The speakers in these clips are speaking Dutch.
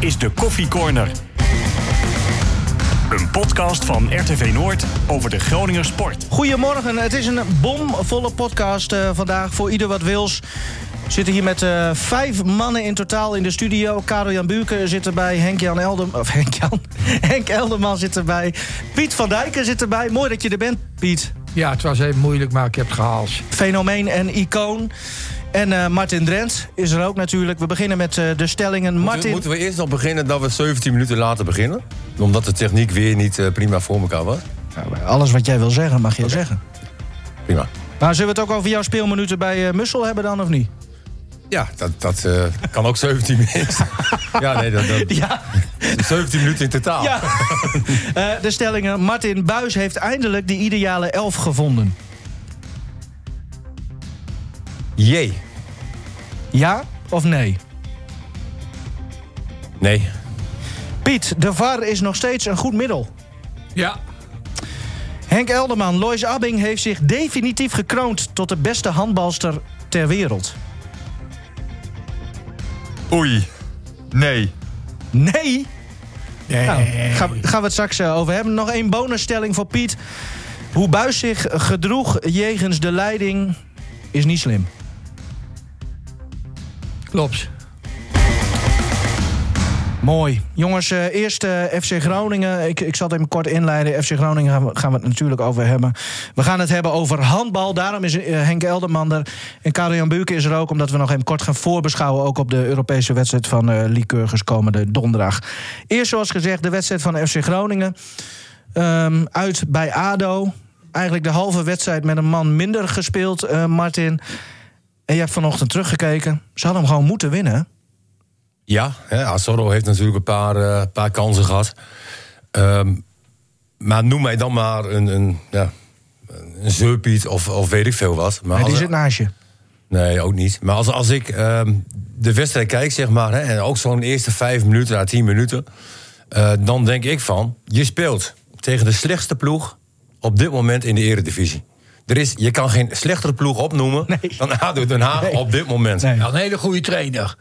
is de Koffie Corner. Een podcast van RTV Noord over de Groninger sport. Goedemorgen, het is een bomvolle podcast eh, vandaag voor ieder wat wils. We zitten hier met eh, vijf mannen in totaal in de studio. Karel Jan Buurken zit erbij, Henk-Jan Eldem, of Henk-Jan, Henk Elderman zit erbij. Piet van Dijken zit erbij. Mooi dat je er bent, Piet. Ja, het was even moeilijk, maar ik heb het gehaald. Fenomeen en icoon. En eh, Martin Drent is er ook natuurlijk. We beginnen met eh, de stellingen. Martin, Moeten we eerst nog beginnen dat we 17 minuten later beginnen? Omdat de techniek weer niet eh, prima voor elkaar was? alles wat jij wil zeggen, mag je zeggen. Prima. Maar zullen we het ook over jouw speelminuten bij eh, Mussel hebben dan, of niet? Ja, dat, dat eh, kan ook 17 minuten. ja, nee, dat, dat- Ja, 17 minuten in totaal. Ja. Eh, de stellingen. Martin Buis heeft eindelijk die ideale elf gevonden. Jee. Ja of nee? Nee. Piet, de VAR is nog steeds een goed middel. Ja. Henk Elderman, Lois Abbing heeft zich definitief gekroond tot de beste handbalster ter wereld. Oei. Nee. Nee? Nou, ga- gaan we het straks eh, over hebben. Nog één bonusstelling voor Piet. Hoe Buis zich gedroeg jegens de leiding is niet slim. Klopt. Mooi. Jongens, eh, eerst eh, FC Groningen. Ik, ik zal het even kort inleiden. FC Groningen gaan we, gaan we het natuurlijk over hebben. We gaan het hebben over handbal. Daarom is eh, Henk Elderman er. En Karel-Jan Buurke is er ook, omdat we nog even kort gaan voorbeschouwen... ook op de Europese wedstrijd van eh Lycurgus komende donderdag. Eerst, zoals gezegd, de wedstrijd van FC Groningen. Ehm, uit bij ADO. Eigenlijk de halve wedstrijd met een man minder gespeeld, eh, Martin. En je hebt vanochtend teruggekeken. Ze hadden hem gewoon moeten winnen, hè? Ja, hè, Azorro heeft natuurlijk een paar, eh, paar kansen gehad. Ehm, maar noem mij dan maar een, een, ja, een zeurpiet of, of weet ik veel wat. Maar En die als- zit naast je. Nee, ook niet. Maar als, als ik ehm, de wedstrijd kijk, zeg maar, hè, en ook zo'n eerste vijf minuten à tien minuten, eh, dan denk ik van: je speelt tegen de slechtste ploeg op dit moment in de Eredivisie. Er is, je kan geen slechtere ploeg opnoemen Nee. dan ADO Den Haag Nee. op dit moment. Nee. Ja, een hele goede trainer.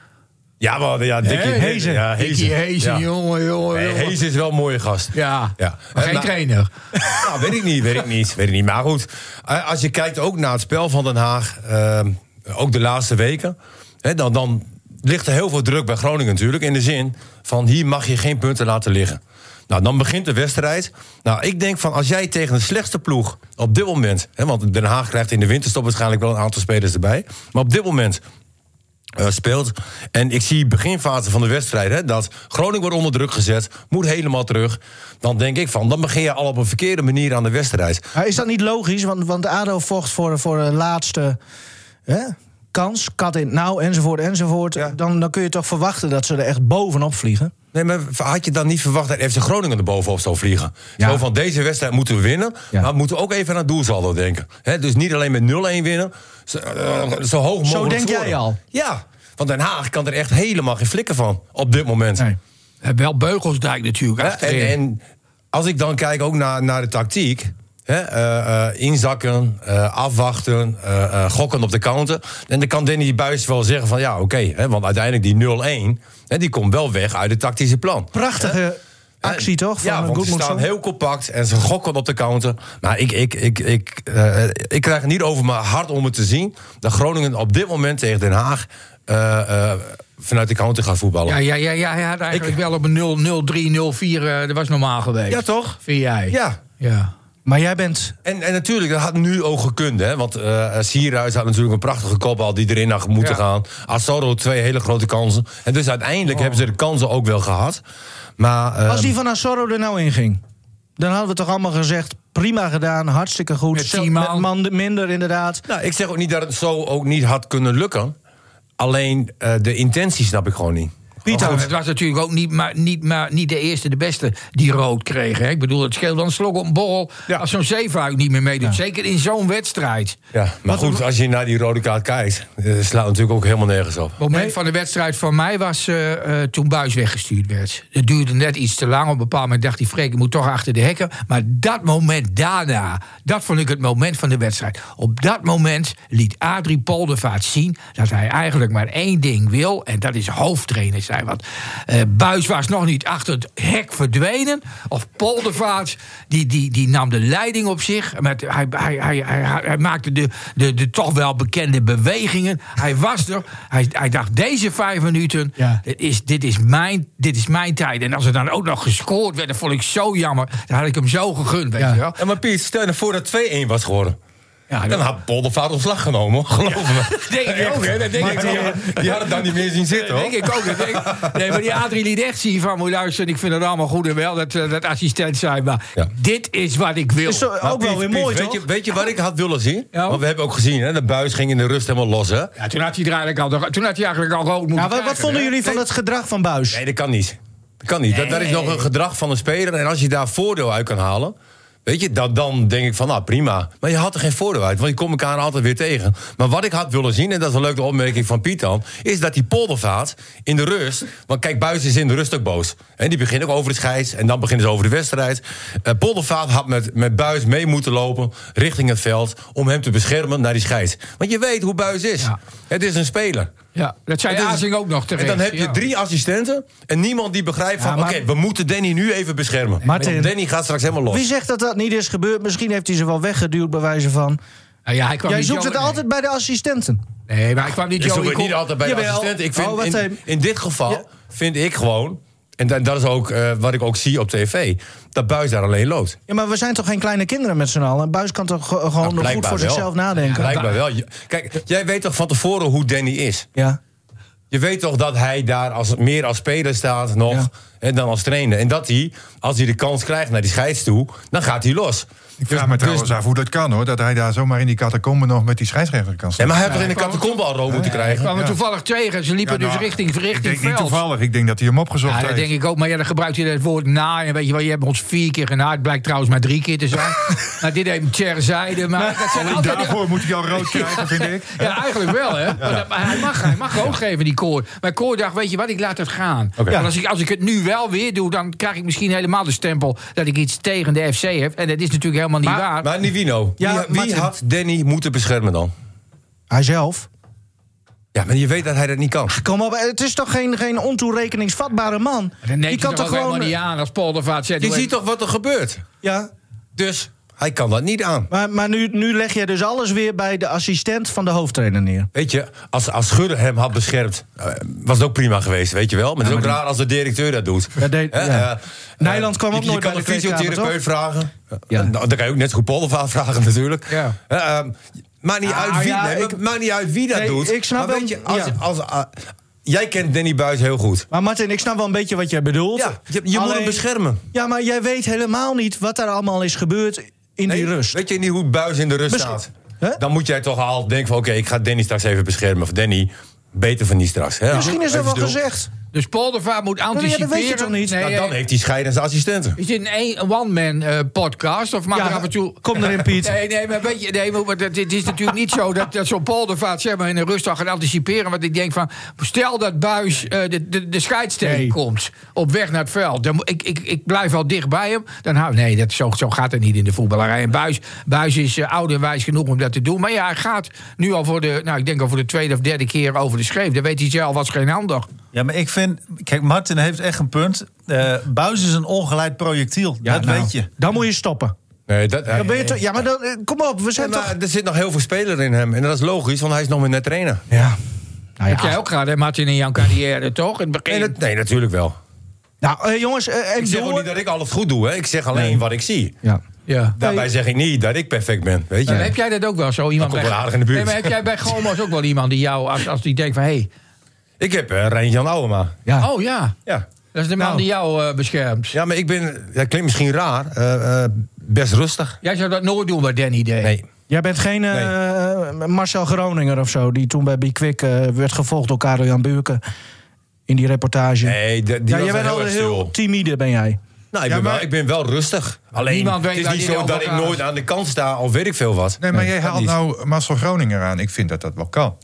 Ja, maar ja, Dickie Hè? Hezen. Ja, Dickie Hezen, Ja. jongen, jongen, Nee, jongen. Hezen is wel een mooie gast. Ja, Ja. Eh, maar geen Maar- trainer. Nou, weet ik niet, weet ik niet, weet ik niet. Maar goed, eh, als je kijkt ook naar het spel van Den Haag, eh, ook de laatste weken, hè, dan, dan ligt er heel veel druk bij Groningen natuurlijk. In de zin van hier mag je geen punten laten liggen. Nou, dan begint de wedstrijd. Nou, ik denk van als jij tegen de slechtste ploeg op dit moment, hè, want Den Haag krijgt in de winterstop waarschijnlijk wel een aantal spelers erbij, maar op dit moment eh, speelt. En ik zie beginfase van de wedstrijd hè, dat Groningen wordt onder druk gezet, moet helemaal terug. Dan denk ik van, dan begin je al op een verkeerde manier aan de wedstrijd. Maar is dat niet logisch? Want, want ADO vocht voor, voor de laatste hè, kans. Kat in het nauw, enzovoort, enzovoort. Dan, dan kun je toch verwachten dat ze er echt bovenop vliegen. Nee, maar had je dan niet verwacht dat FC Groningen er bovenop zou vliegen? Ja. Zo van deze wedstrijd moeten we winnen, Ja. maar we moeten ook even aan het doelsaldo denken. Hè, dus niet alleen met 0-1 winnen, zo, eh, zo hoog mogelijk denk jij scoren. al? Ja, want Den Haag kan er echt helemaal geen flikken van op dit moment. En wel Beugelsdijk natuurlijk. Hè, achterin. en, en als ik dan kijk ook naar, naar de tactiek. Hè, eh, eh, inzakken, eh, afwachten, eh, eh, gokken op de counter. En dan kan Danny Buis wel zeggen van ja, oké. hè, want uiteindelijk die 0-1, hè, die komt wel weg uit het tactische plan. Prachtige actie, toch? Van Eh, ja, want ze Goodmanson? staan heel compact en ze gokken op de counter. Maar ik, ik, ik, ik, eh, ik krijg het niet over mijn hart om het te zien... dat Groningen op dit moment tegen Den Haag... eh, eh, vanuit de counter gaat voetballen. Ja, ja, ja, ja, hij had eigenlijk wel op een 0, 0, 3, 0, 4, eh, dat was normaal geweest. Ja, toch? Vind jij? ja. Ja. Maar jij bent... En, en natuurlijk, dat had nu ook gekund. Hè? Want eh Sierhuis had natuurlijk een prachtige kopbal die erin had moeten Ja. gaan. Asoro twee hele grote kansen. En dus uiteindelijk hebben ze de kansen ook wel gehad. Maar eh, Als die van Asoro er nou in ging... dan hadden we toch allemaal gezegd... prima gedaan, hartstikke goed. Met Zo- tien man. man minder, inderdaad. nou, ik zeg ook niet dat het zo ook niet had kunnen lukken. Alleen eh, de intentie snap ik gewoon niet. Oh, Pieter, Maar Oh, het was natuurlijk ook niet, maar, niet, maar, niet de eerste, de beste die rood kreeg. Hè? Ik bedoel, het scheelde dan een slok op een borrel Ja. als zo'n zeefuik niet meer meedoet. Zeker in zo'n wedstrijd. Ja, maar goed, als je naar die rode kaart kijkt, eh, slaat natuurlijk ook helemaal nergens op. Het moment van de wedstrijd van mij was eh, eh, toen Buis weggestuurd werd. Het duurde net iets te lang. Op een bepaald moment dacht hij, Freek, ik moet toch achter de hekken. Maar dat moment daarna, dat vond ik het moment van de wedstrijd. Op dat moment liet Adrie Poldervaart zien dat hij eigenlijk maar één ding wil. En dat is hoofdtrainer zijn. zijn. Want eh, Buis was nog niet achter het hek verdwenen. Of Poldervaart, die, die, die nam de leiding op zich. Met, hij, hij, hij, hij, hij- hij maakte de, de, de toch wel bekende bewegingen. Hij was er. Hij, hij dacht, deze vijf minuten, Ja. dit, is, dit, is mijn, dit is mijn tijd. En als er dan ook nog gescoord werd, dat vond ik zo jammer. Dan had ik hem zo gegund, weet Ja. je wel. Ja, maar Piet, stel je nou voor dat 2-1 was geworden. Ja, Dan had Poldervaart ontslag genomen, hoor, geloof me. denk ik ook, hè. Dat denk ik Die, ook. hadden- die hadden het dan niet meer zien zitten, hoor. Denk ik ook. dat Denk, ik. nee, maar die Adrie liet echt zien van moet je luisteren. Ik vind het allemaal goed en wel dat, eh, dat assistent zijn. Maar Ja. dit is wat ik wil. Is zo- Maar ook Piet, wel weer Piet, mooi, weet toch? Je, weet je wat ik had willen zien? Ja. Want we hebben ook gezien, hè, de buis ging in de rust helemaal los, hè? Ja, toen had hij er eigenlijk al, toen had hij eigenlijk al rood moeten Ja, wat, wat krijgen, vonden hè? jullie van het gedrag van Buis? Nee, dat kan niet. Dat kan niet. Dat, dat is nog een gedrag van een speler. En als je daar voordeel uit kan halen, weet je, dan, dan denk ik van, nou prima. Maar je had er geen voordeel uit, want je komt elkaar altijd weer tegen. Maar wat ik had willen zien, en dat is een leuke opmerking van Piet dan, is dat die poldervaart in de rust. Want kijk, Buis is in de rust ook boos. En die beginnen ook over de scheids en dan beginnen ze over de wedstrijd. Eh, poldervaart had met, met Buis mee moeten lopen richting het veld om hem te beschermen naar die scheids. Want je weet hoe Buis is. Ja. Het is een speler. Ja, dat zei Het is- Azing ook nog terecht. En dan heb je ja. drie assistenten en niemand die begrijpt van... Ja, maar- oké, we moeten Danny nu even beschermen. Martin. Want Danny gaat straks helemaal Wie los. zegt dat dat niet is gebeurd? Misschien heeft hij ze wel weggeduwd bij wijze van. Nou ja, hij kwam Jij niet zoekt Joey- het altijd bij de assistenten. Nee, nee, maar hij kwam niet Ik zoek Joey het niet Koen. altijd bij de Jawel. assistent. Ik vind, Oh, wat in, hij- in dit geval Ja. vind ik gewoon... en da- dat is ook eh, wat ik ook zie op tv... dat Buis daar alleen loopt. Ja, maar we zijn toch geen kleine kinderen met z'n allen? En Buis kan toch ge- Nou, gewoon nog goed Nou, blijkbaar voor wel. zichzelf nadenken? Ja. Blijkbaar wel. Je- Kijk, jij weet toch van tevoren hoe Danny is? Je weet toch dat hij daar als, meer als speler staat nog Ja. hè, dan als trainer. En dat hij, als hij de kans krijgt naar die scheids toe... dan gaat hij los. Ik vraag me trouwens af hoe dat kan hoor. Dat hij daar zomaar in die catacombe nog met die scheidsrechter kan Ja, staan. maar hij heeft toch in de catacombe al rood moeten Hij krijgen? kwam er Ja. toevallig tegen. Ze liepen Ja, nou, dus richting, Ik richting denk niet veld. toevallig. Ik denk dat hij hem opgezocht Ja, dat heeft. denk ik ook. Maar ja, dan gebruikt hij het woord na. En weet je wel, je hebt ons vier keer genaaid. Blijkt trouwens maar drie keer te zijn. maar dit heeft Cher zijde. Maar dat zijn altijd... Daarvoor moet hij al rood krijgen, vind ik. Ja, eigenlijk wel, hè. Maar, dat- maar hij mag, hij mag ook geven, die koor. Maar koor dacht, weet je wat, ik laat het gaan. Want als ik, als ik het nu wel weer doe, dan krijg ik misschien helemaal de stempel... dat ik iets tegen de FC heb. En dat is natuurlijk helemaal niet waar. Maar Nivino, Ah, Ja, wie, wie Martin. had Danny moeten beschermen dan? Hij zelf. Ja, maar je weet dat hij dat niet kan. Kom op, het is toch geen, geen ontoerekeningsvatbare man? dan neemt Die hij kan toch ook toch helemaal gewoon... niet aan als Paul de Vaart zegt... Je doe ziet toch wat er gebeurt? Ja, Dus hij kan dat niet aan. maar, maar nu, nu leg je dus alles weer bij de assistent van de hoofdtrainer neer. Weet je, als, als Schudder hem had beschermd, eh, was het ook prima geweest, weet je wel. Maar het is ook raar als de directeur dat doet. Ja, deed- Hè, ja. eh, Nijland eh, kwam ook je, nooit Je bij kan de een fysiotherapeut kleedkamer, vragen. Ja. Ja. Dan kan je ook net zo goed Poldervaar vragen natuurlijk. Ja. Hè, ehm, maakt, niet Ah, uit wie, ja, nee, maar ik- maakt niet uit wie dat Nee, doet. ik snap maar hem, weet je, als, ja. als, ah, jij kent Danny Buis heel goed. Maar Martin, ik snap wel een beetje wat jij bedoelt. Ja, je, je moet Alleen- hem beschermen. Ja, maar jij weet helemaal niet wat daar allemaal is gebeurd in die Nee, rust. Weet je niet hoe Buis in de rust Bes- staat? Hè? Dan moet jij toch al denken van... oké, ik ga Danny straks even beschermen. Of Danny, beter van die straks. Hè? Misschien is dat Even wel stil. gezegd. Dus Paul de Vaart moet dat weet je anticiperen. toch niet? Nee, Nou, dan eh, heeft hij scheidende assistenten. is dit een een- een one-man eh, podcast? Of mag Ja, er af en toe... Kom erin, Piet. Nee, nee, maar weet je, nee, maar maar dat- het is natuurlijk niet zo dat, dat zo'n poldervaart zeg maar, in een rustdag gaat anticiperen. Want ik denk van, stel dat Buis eh, de, de, de scheids tegenkomt op weg naar het veld. Dan, mo- ik, ik, ik blijf al dicht bij hem. Dan hou, nee, dat, zo, zo gaat het niet in de voetballerij. En Buis, Buis is eh, oud en wijs genoeg om dat te doen. Maar ja, hij gaat nu al voor de, nou, ik denk al voor de tweede of derde keer over de scheef. Dat weet hij zelf was geen handig. Ja, maar ik vind... Kijk, Martin heeft echt een punt. Eh Buis is een ongeleid projectiel. dat nou, weet je. Dan moet je stoppen. Nee, dat, Dan ben je toch- ja, maar dan, eh, kom op, we Ja, zijn maar toch... Er zit nog heel veel speler in hem. En dat is logisch, want hij is nog maar net trainer. Ja. Nou, Heb jij ook gehad, hè, Martin, in jouw carrière, toch? In het begin. Nee, dat- nee, natuurlijk wel. Nou, eh, jongens, eh, en Ik zeg ook door... niet dat ik alles goed doe. Hè. Ik zeg alleen wat ik zie. Ja. ja. Daarbij zeg ik niet dat ik perfect ben. Weet je? Maar heb jij dat ook wel zo? Iemand komt bij- wel aardig in de buurt. Nee, maar heb jij bij Gomas ook wel iemand die jou, als, als die denkt van hé, Ik heb eh Rijn-Jan Ouwema. Ja. hey, oh ja, Ja. dat is de man Nou. die jou eh, beschermt. ja, maar ik ben... Dat klinkt misschien raar. eh, eh, best rustig. Jij zou dat nooit doen wat Danny deed. Nee. Jij bent geen eh, Marcel Groninger of zo, die toen bij Big Quick eh, werd gevolgd door Karel-Jan Buurken in die reportage. Nee, de- die ja, jij was bent heel, al erg heel stil. timide, ben jij. Nou, ik, ben wel, ik ben wel rustig. Alleen, Niemand weet het is waar niet die zo nou dat ik vandaan nooit is. aan de kant sta of weet ik veel wat. Nee, maar jij dat haalt niet. nou Marcel Groninger aan. Ik vind dat dat wel kan.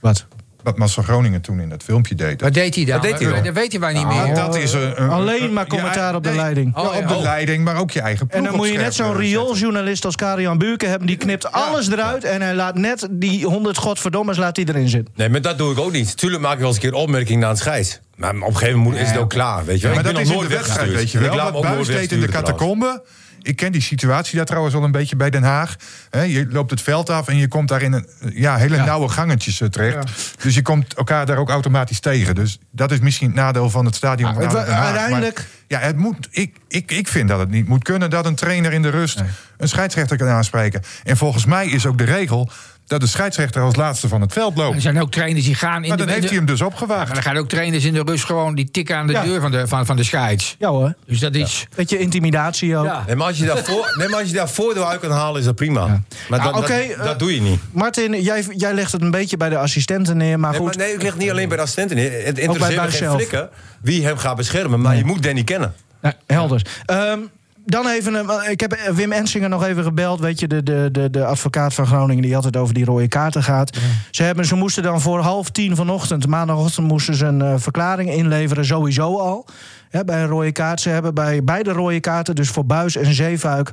Wat? wat Marcel Groningen toen in dat filmpje deed. Wat deed hij dan? Wat deed hij dan? Dat weten wij niet Ja, meer. dat is een, een- Alleen maar je commentaar ei- op de leiding. ja, Oh, ja. op de Oh. leiding, maar ook je eigen ploeg En dan op moet je net scherp, zo'n eh, zetten. riooljournalist als Karian Buurken hebben. Die knipt alles eruit en hij laat net die 100 godverdommers laat hij erin zitten. Nee, maar dat doe ik ook niet. Tuurlijk maak ik wel eens een keer opmerking naar een scheids. Maar op een gegeven moment is het ook klaar, weet je wel. Ja, maar Ik ben dat nog is in de nooit wedstrijd, weggestuurd. weet je Ik wel. laat me Wat ook nooit Buis deed in de wegsturen trouwens. catacombe. Ik ken die situatie daar trouwens al een beetje bij Den Haag. Hè, je loopt het veld af en je komt daar in een, ja, hele nauwe gangetjes eh, terecht. Dus je komt elkaar daar ook automatisch tegen. Dus dat is misschien het nadeel van het stadion. Ah, van het wa- Den Haag. Maar uiteindelijk- ja, het moet, ik, ik, ik vind dat het niet moet kunnen dat een trainer in de rust een scheidsrechter kan aanspreken. En volgens mij is ook de regel dat de scheidsrechter als laatste van het veld Er loopt. zijn ook trainers die gaan in Maar de... dan heeft hij hem dus Maar opgewaagd. dan gaan ook trainers in de rust gewoon die tikken aan de Ja. deur van de, van, van de scheids. Ja hoor. Dus dat is... Beetje intimidatie ook. Ja. Nee, maar als je daar, voor, nee, maar als je daar voordeel uit kan halen, is dat prima. Maar Ah, dat, dat- oké, dat, eh, doe je niet. Martin, jij, jij legt het een beetje bij de assistenten neer. Maar Nee, goed, maar nee, het ligt niet alleen bij de assistenten. Het interesseert me buis geen zelf. flikken wie hem gaat beschermen. Maar je moet Danny kennen. Nou, helder. Ehm, dan even, een- want ik heb eh, Wim Ensinger nog even gebeld. Weet je, de, de, de, de advocaat van Groningen die altijd over die rode kaarten gaat. Ze, hebben, ze moesten dan voor half tien vanochtend, maandagochtend, moesten ze een eh, verklaring inleveren. Sowieso al. Hè, bij een rode kaart. Ze hebben bij beide rode kaarten, dus voor Buis en Zeefuik,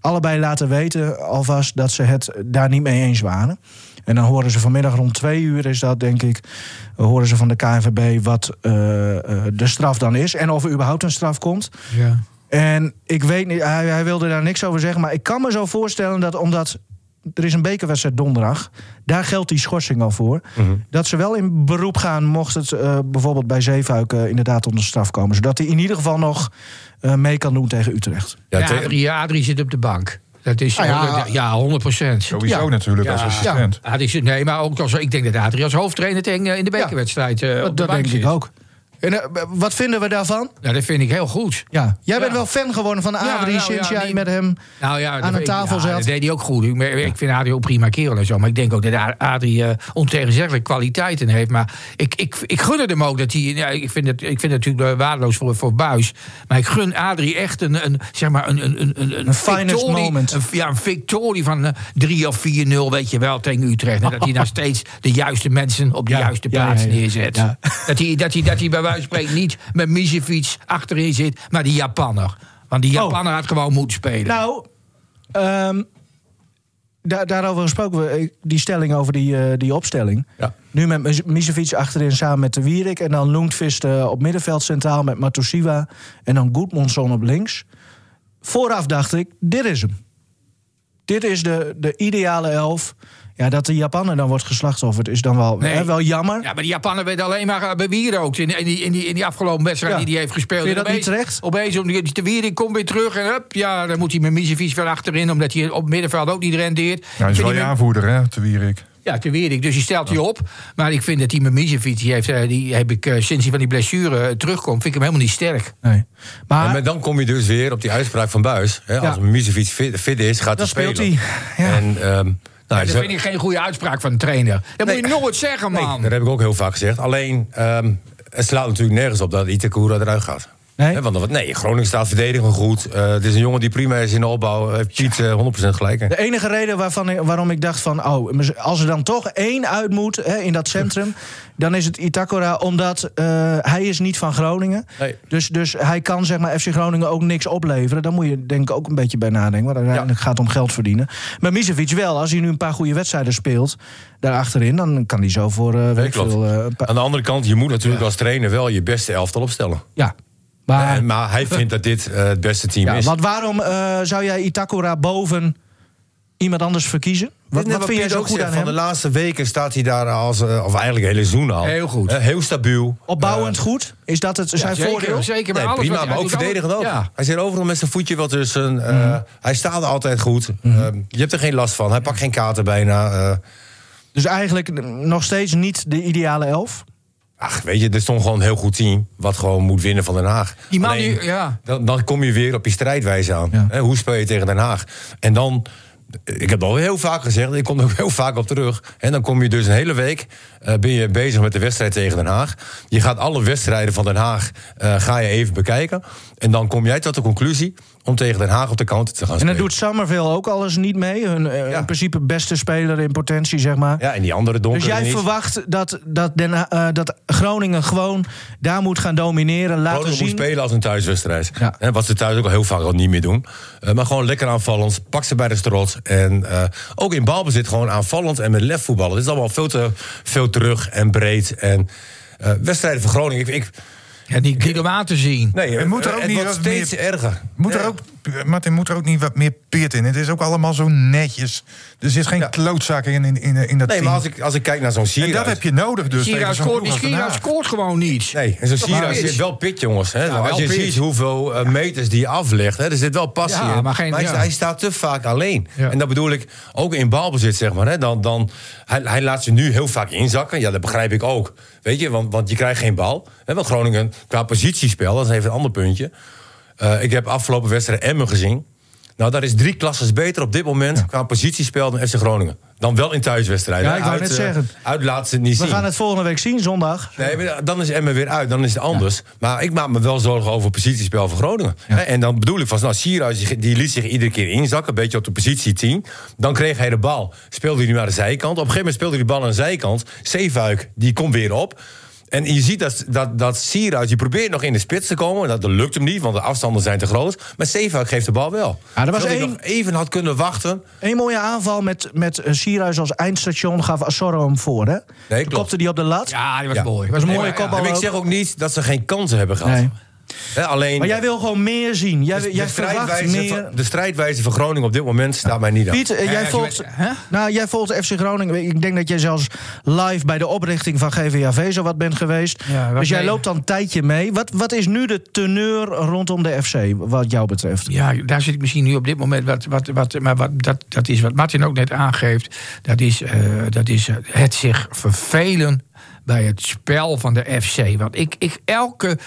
allebei laten weten alvast dat ze het daar niet mee eens waren. En dan horen ze vanmiddag rond twee uur, is dat denk ik, horen ze van de KNVB wat eh, eh, de straf dan is. En of er überhaupt een straf komt. Ja. En ik weet niet, hij, hij wilde daar niks over zeggen. Maar ik kan me zo voorstellen dat omdat. Er is een bekerwedstrijd donderdag. Daar geldt die schorsing al voor. Dat ze wel in beroep gaan, mocht het eh, bijvoorbeeld bij Zeefuik eh, inderdaad onder straf komen. Zodat hij in ieder geval nog eh, mee kan doen tegen Utrecht. Ja, Ja, te- Adrie, Adrie zit op de bank. Dat is Ah, ja. 100 ja, 100 procent. Sowieso natuurlijk als assistent. nee, maar ook als, ik denk dat Adrie als hoofdtrainer tegen, eh, in de bekerwedstrijd eh, op dat de bank denk zit. ik ook. En, eh, wat vinden we daarvan? Nou, dat vind ik heel goed. Ja. Jij bent Ja. wel fan geworden van Ja, Adrie nou ja, sinds jij die- met hem. Nou ja, Aan dat- een tafel ja, zat. Dat deed hij ook goed. Ik, maar ik vind Adrie ook prima kerel en zo. Maar ik denk ook dat Ad- Adrie eh ontegenzeggelijk kwaliteiten heeft. Maar ik, ik, ik gun het hem ook dat hij. Ja, ik, vind het, ik vind het natuurlijk eh, waardeloos voor, voor Buis. Maar ik gun Adrie echt een, een zeg maar een, een, een, een, een finest victorie- moment. Een, ja, een victorie van eh, 3 of 4-0, weet je wel, tegen Utrecht. En dat hij daar steeds de juiste mensen op de Ja, juiste ja, plaats ja, ja. neerzet. Ja. Dat, hij, dat, hij, dat hij bij wijze van spreken niet met Misevic achterin zit, maar die Japanner. Want die Japanner had gewoon moeten spelen. Oh. Nou, ehm, da- daarover gesproken, we, eh, die stelling over die, eh, die opstelling. Ja. Nu met Mis- Misevic achterin samen met de Wierik. En dan Loentvist eh, op middenveld centraal met Matosiwa. En dan Goedmondson op links. Vooraf dacht ik, dit is hem. Dit is de, de ideale elf. Ja, dat de Japaner dan wordt geslachtofferd is dan wel, Nee. hè, wel jammer. Ja, maar die Japaner werd alleen maar eh, bewierookt in, in, die, in, die, in die afgelopen wedstrijd Ja. die hij heeft gespeeld. Vind je dat En opeens- niet terecht? Opeens, om die, de Wiering komt weer terug en hup, ja, dan moet hij met Misevic weer achterin, omdat hij op middenveld ook niet rendeert. Ja, hij Ik vind is wel die je met- aanvoerder, hè, te Wierik. Ja, te Wierik. Dus die stelt hij op. Maar ik vind dat die met Misevic, die, heeft, eh, die heb ik eh, sinds hij van die blessure eh, terugkomt, vind ik hem helemaal niet sterk. Nee. Maar, Ja, maar dan kom je dus weer op die uitspraak van Buis. Hè, Als een Misevic fit, fit is, gaat dan hij spelen. speelt hij. Ja. En, ehm, nou, Dat zo- vind ik geen goede uitspraak van een trainer. Dat moet je nooit zeggen, nee, man. dat heb ik ook heel vaak gezegd. Alleen, ehm, het slaat natuurlijk nergens op dat Itakura eruit gaat. Nee? Hè, want dan- nee, Groningen staat verdedigend goed. Eh, het is een jongen die prima is in de opbouw. Heeft Piet eh, 100% gelijk. in. De enige reden waarvan ik- waarom ik dacht van... oh, als er dan toch één uit moet hè, in dat centrum... dan is het Itakura, omdat eh, hij is niet van Groningen. Nee. Dus, dus hij kan zeg maar, FC Groningen ook niks opleveren. Daar moet je denk ik ook een beetje bij nadenken. Want uiteindelijk gaat het om geld verdienen. Maar Misevic wel, als hij nu een paar goede wedstrijden speelt... daarachterin, dan kan hij zo voor... eh, weet ik klopt. veel, eh, een paar- Aan de andere kant, je moet natuurlijk als trainer wel je beste elftal opstellen. ja, maar... Eh, maar hij vindt dat dit eh, het beste team Ah. ja, is. want waarom eh, zou jij Itakura boven iemand anders verkiezen? Wat, Dit is wat net vind jij Piet zo ook goed zegt, aan Van hem? de laatste weken staat hij daar als, eh, of eigenlijk het hele seizoen al. Heel goed. Eh, heel stabiel. Opbouwend goed? Is dat het, zijn zeker, voordeel? Zeker, maar Nee, alles prima, wat- maar hij ook doet verdedigend ook. alles- Ja. Mhm. Hij zit overal met zijn voetje wel tussen. eh, Hij staat er altijd goed. Eh, je hebt er geen last van. Hij pakt geen kaarten bijna. eh. Dus eigenlijk eh, nog steeds niet de ideale elf. ach, weet je, dit is toch gewoon een heel goed team. Wat gewoon moet winnen van Den Haag. Die man Alleen, die- ja. dan, dan kom je weer op je strijdwijze aan. Hè, hoe speel je tegen Den Haag? En dan ik heb dat al heel vaak gezegd, ik kom er ook heel vaak op terug. En dan kom je dus een hele week eh, ben je bezig met de wedstrijd tegen Den Haag. Je gaat alle wedstrijden van Den Haag eh, ga je even bekijken. En dan kom jij tot de conclusie om tegen Den Haag op de counter te gaan En spelen. dan doet Summerville ook alles niet mee. Hun eh, Ja. in principe beste speler in potentie, zeg maar. Ja, en die andere donkere Dus jij niet. verwacht dat, dat, Den, Ha- eh, dat Groningen gewoon daar moet gaan domineren, laten Groningen zien. moet spelen als een thuiswedstrijd. Ja. Hè, Wat ze thuis ook al heel vaak al niet meer doen. Eh, maar gewoon lekker aanvallend. Pak ze bij de strot. En eh, ook in balbezit gewoon aanvallend en met lef voetballen. Het is allemaal veel te veel terug en breed. En eh, wedstrijden voor Groningen. Ik, ik, Ja, niet, niet om aan te zien. nee, eh, Het moet er ook het niet wordt wat steeds meer- erger. Moet er ook, Martin, moet er ook niet wat meer peert in? Het is ook allemaal zo netjes. Dus Er zit geen klootzaak in, in, in, in dat Nee, team. maar als ik, als ik kijk naar zo'n en Sierra. dat heb je nodig dus. tegen Sierra zo'n scoort, ploeg als Den Sierra Haag. scoort gewoon niet. Nee, en zo'n Toch maar Sierra pitch. zit wel pit, jongens. Hè. Nou, Ja, als wel je pitch. ziet hoeveel eh, meters die aflegt, hè, er zit wel passie Ja, in. maar geen- hij, ja. hij staat te vaak alleen. Ja. En dat bedoel ik ook in balbezit, zeg maar. Hè, dan, dan, hij, hij laat ze nu heel vaak inzakken. Ja, dat begrijp ik ook. Weet je, want, want je krijgt geen bal. Hè, want Groningen, qua positiespel, dat is even een ander puntje. Eh, ik heb afgelopen wedstrijd Emmen gezien. Nou, daar is drie klasses beter op dit moment qua positiespel dan FC Groningen. Dan wel in thuiswedstrijden. Ja, ik wou Uit, net eh, zeggen. Uit laat ze het niet We zien. gaan het volgende week zien, zondag. Nee, maar dan is Emmen weer uit, dan is het anders. Maar ik maak me wel zorgen over het positiespel van Groningen. Hè, En dan bedoel ik van, nou, Sierhuis die- die liet zich iedere keer inzakken, een beetje op de positie 10. Dan kreeg hij de bal, speelde hij naar de zijkant. Op een gegeven moment speelde hij de bal aan de zijkant. Zeefuik, die komt weer op. En je ziet dat, dat, dat Sierhuis, die probeert nog in de spits te komen. Dat, dat lukt hem niet, want de afstanden zijn te groot. Maar Zeefuik geeft de bal wel. Ja, Ah, er was Zodat hij één- nog even had kunnen wachten. Een mooie aanval met, met eh, Sierhuis als eindstation gaf Assoro hem voor, hè? Toen klopt. kopte die op de lat. Ja, die was Ja. mooi. was een Nee, mooie maar ja, kopbal maar ook. Ik zeg ook niet dat ze geen kansen hebben gehad. Nee. Hè, alleen... Maar jij wil gewoon meer zien. Jij, De- jij de, verwacht strijdwijze meer... van, de strijdwijze van Groningen op dit moment staat mij niet aan. Piet, eh, Ja, jij, ja, volgt, je- hè? nou, jij volgt FC Groningen. Ik denk dat jij zelfs live bij de oprichting van GVAV zo wat bent geweest. Ja, wat dus jij mee- loopt dan een tijdje mee. Wat, wat is nu de teneur rondom de FC, wat jou betreft? Ja, daar zit ik misschien nu op dit moment. Wat, wat, wat, maar wat, dat, dat is wat Martin ook net aangeeft. Dat is, eh, dat is het zich vervelen bij het spel van de FC. Want ik, ik elke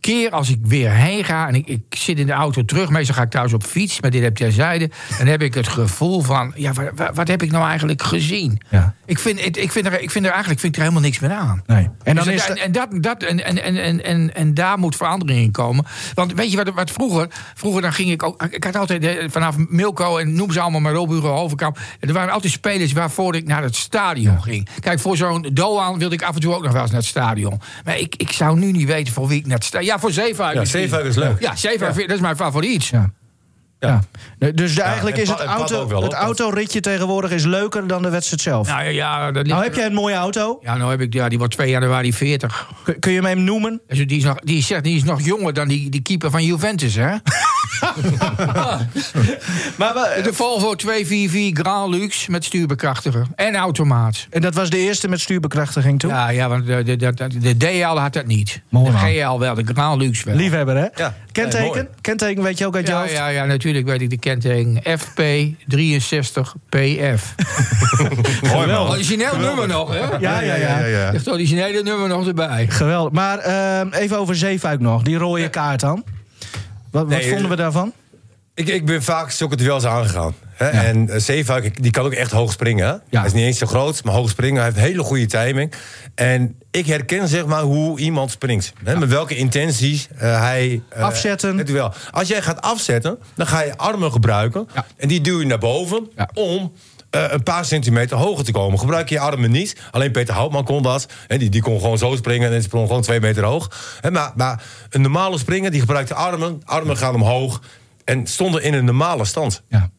keer als ik weer heen ga en ik, ik zit in de auto terug, meestal ga ik thuis op fiets, maar dit heb jij zeiden, dan heb ik het gevoel van, ja, wa- wa- wat, heb ik nou eigenlijk gezien? Ja. Ik, vind, het- ik, vind er, ik vind er eigenlijk vind ik er helemaal niks meer aan. Nee. En dan Dus is het- het- en, dat, dat, en, en, en, en, en, en daar moet verandering in komen. Want weet je wat, wat vroeger? Vroeger dan ging ik ook. Ik had altijd eh, vanaf Milko en noem ze allemaal maar op, Hugo Hovenkamp. Er waren altijd spelers waarvoor ik naar het stadion ging. Kijk, voor zo'n Doan wilde ik af en toe ook nog wel eens naar het stadion. Maar ik, ik zou nu niet weten voor wie ik naar het stadion. Ja, voor Zeefuik. Ja, misschien. Zeefuik is leuk. Ja, Zeefuik, dat is mijn favoriet. Ja. Ja. Nee, Dus de- eigenlijk en is Pat- het, en Pat auto, ook wel, het hoor. autoritje tegenwoordig is leuker dan de wedstrijd zelf. Nou, Nou ja, dat ligt- heb jij een mooie auto. Ja, nou heb ik, ja, die wordt 2 januari 40. Kun- Kun je hem even noemen? Dus die, is nog, die, is, die is nog jonger dan die, die keeper van Juventus, hè? Maar, we- De Volvo 244 Grand Luxe met stuurbekrachtiger en automaat. en dat was de eerste met stuurbekrachtiging toen? Ja, ja want de, de, de, de DL had dat niet. Mooi, de man. GL wel, de Grand Luxe wel. Liefhebber, hè? Ja. Kenteken? Nee, mooi. Kenteken weet je ook uit je ja, hoofd? ja, ja, natuurlijk weet ik de kenteken. FP63PF. Mooi man. Origineel nummer nog, hè? Ja, ja, ja. ja, ja. Echt originele nummer nog erbij. Geweldig. Maar ehm, even over Zeefuik nog. Die rode kaart dan. Wat, wat Nee, vonden we eh, daarvan? Ik, ik ben vaak zulke duels aangegaan. Hè? En eh, Zeefuik, ik- die kan ook echt hoog springen. Hè? Hij is niet eens zo groot, maar hoog springen. Hij heeft hele goede timing. En ik herken zeg maar hoe iemand springt. Hè? Met welke intenties eh, hij... eh, Afzetten. Het duel. Als jij gaat afzetten, dan ga je armen gebruiken. Ja. En die duw je naar boven Ja. om... eh, een paar centimeter hoger te komen. Gebruik je armen niet. Alleen Peter Houtman kon dat. Hè, die, die kon gewoon zo springen en sprong gewoon twee meter hoog. Hè, maar, maar een normale springer die gebruikt de armen. Armen gaan omhoog. En stonden in een normale stand. Ja.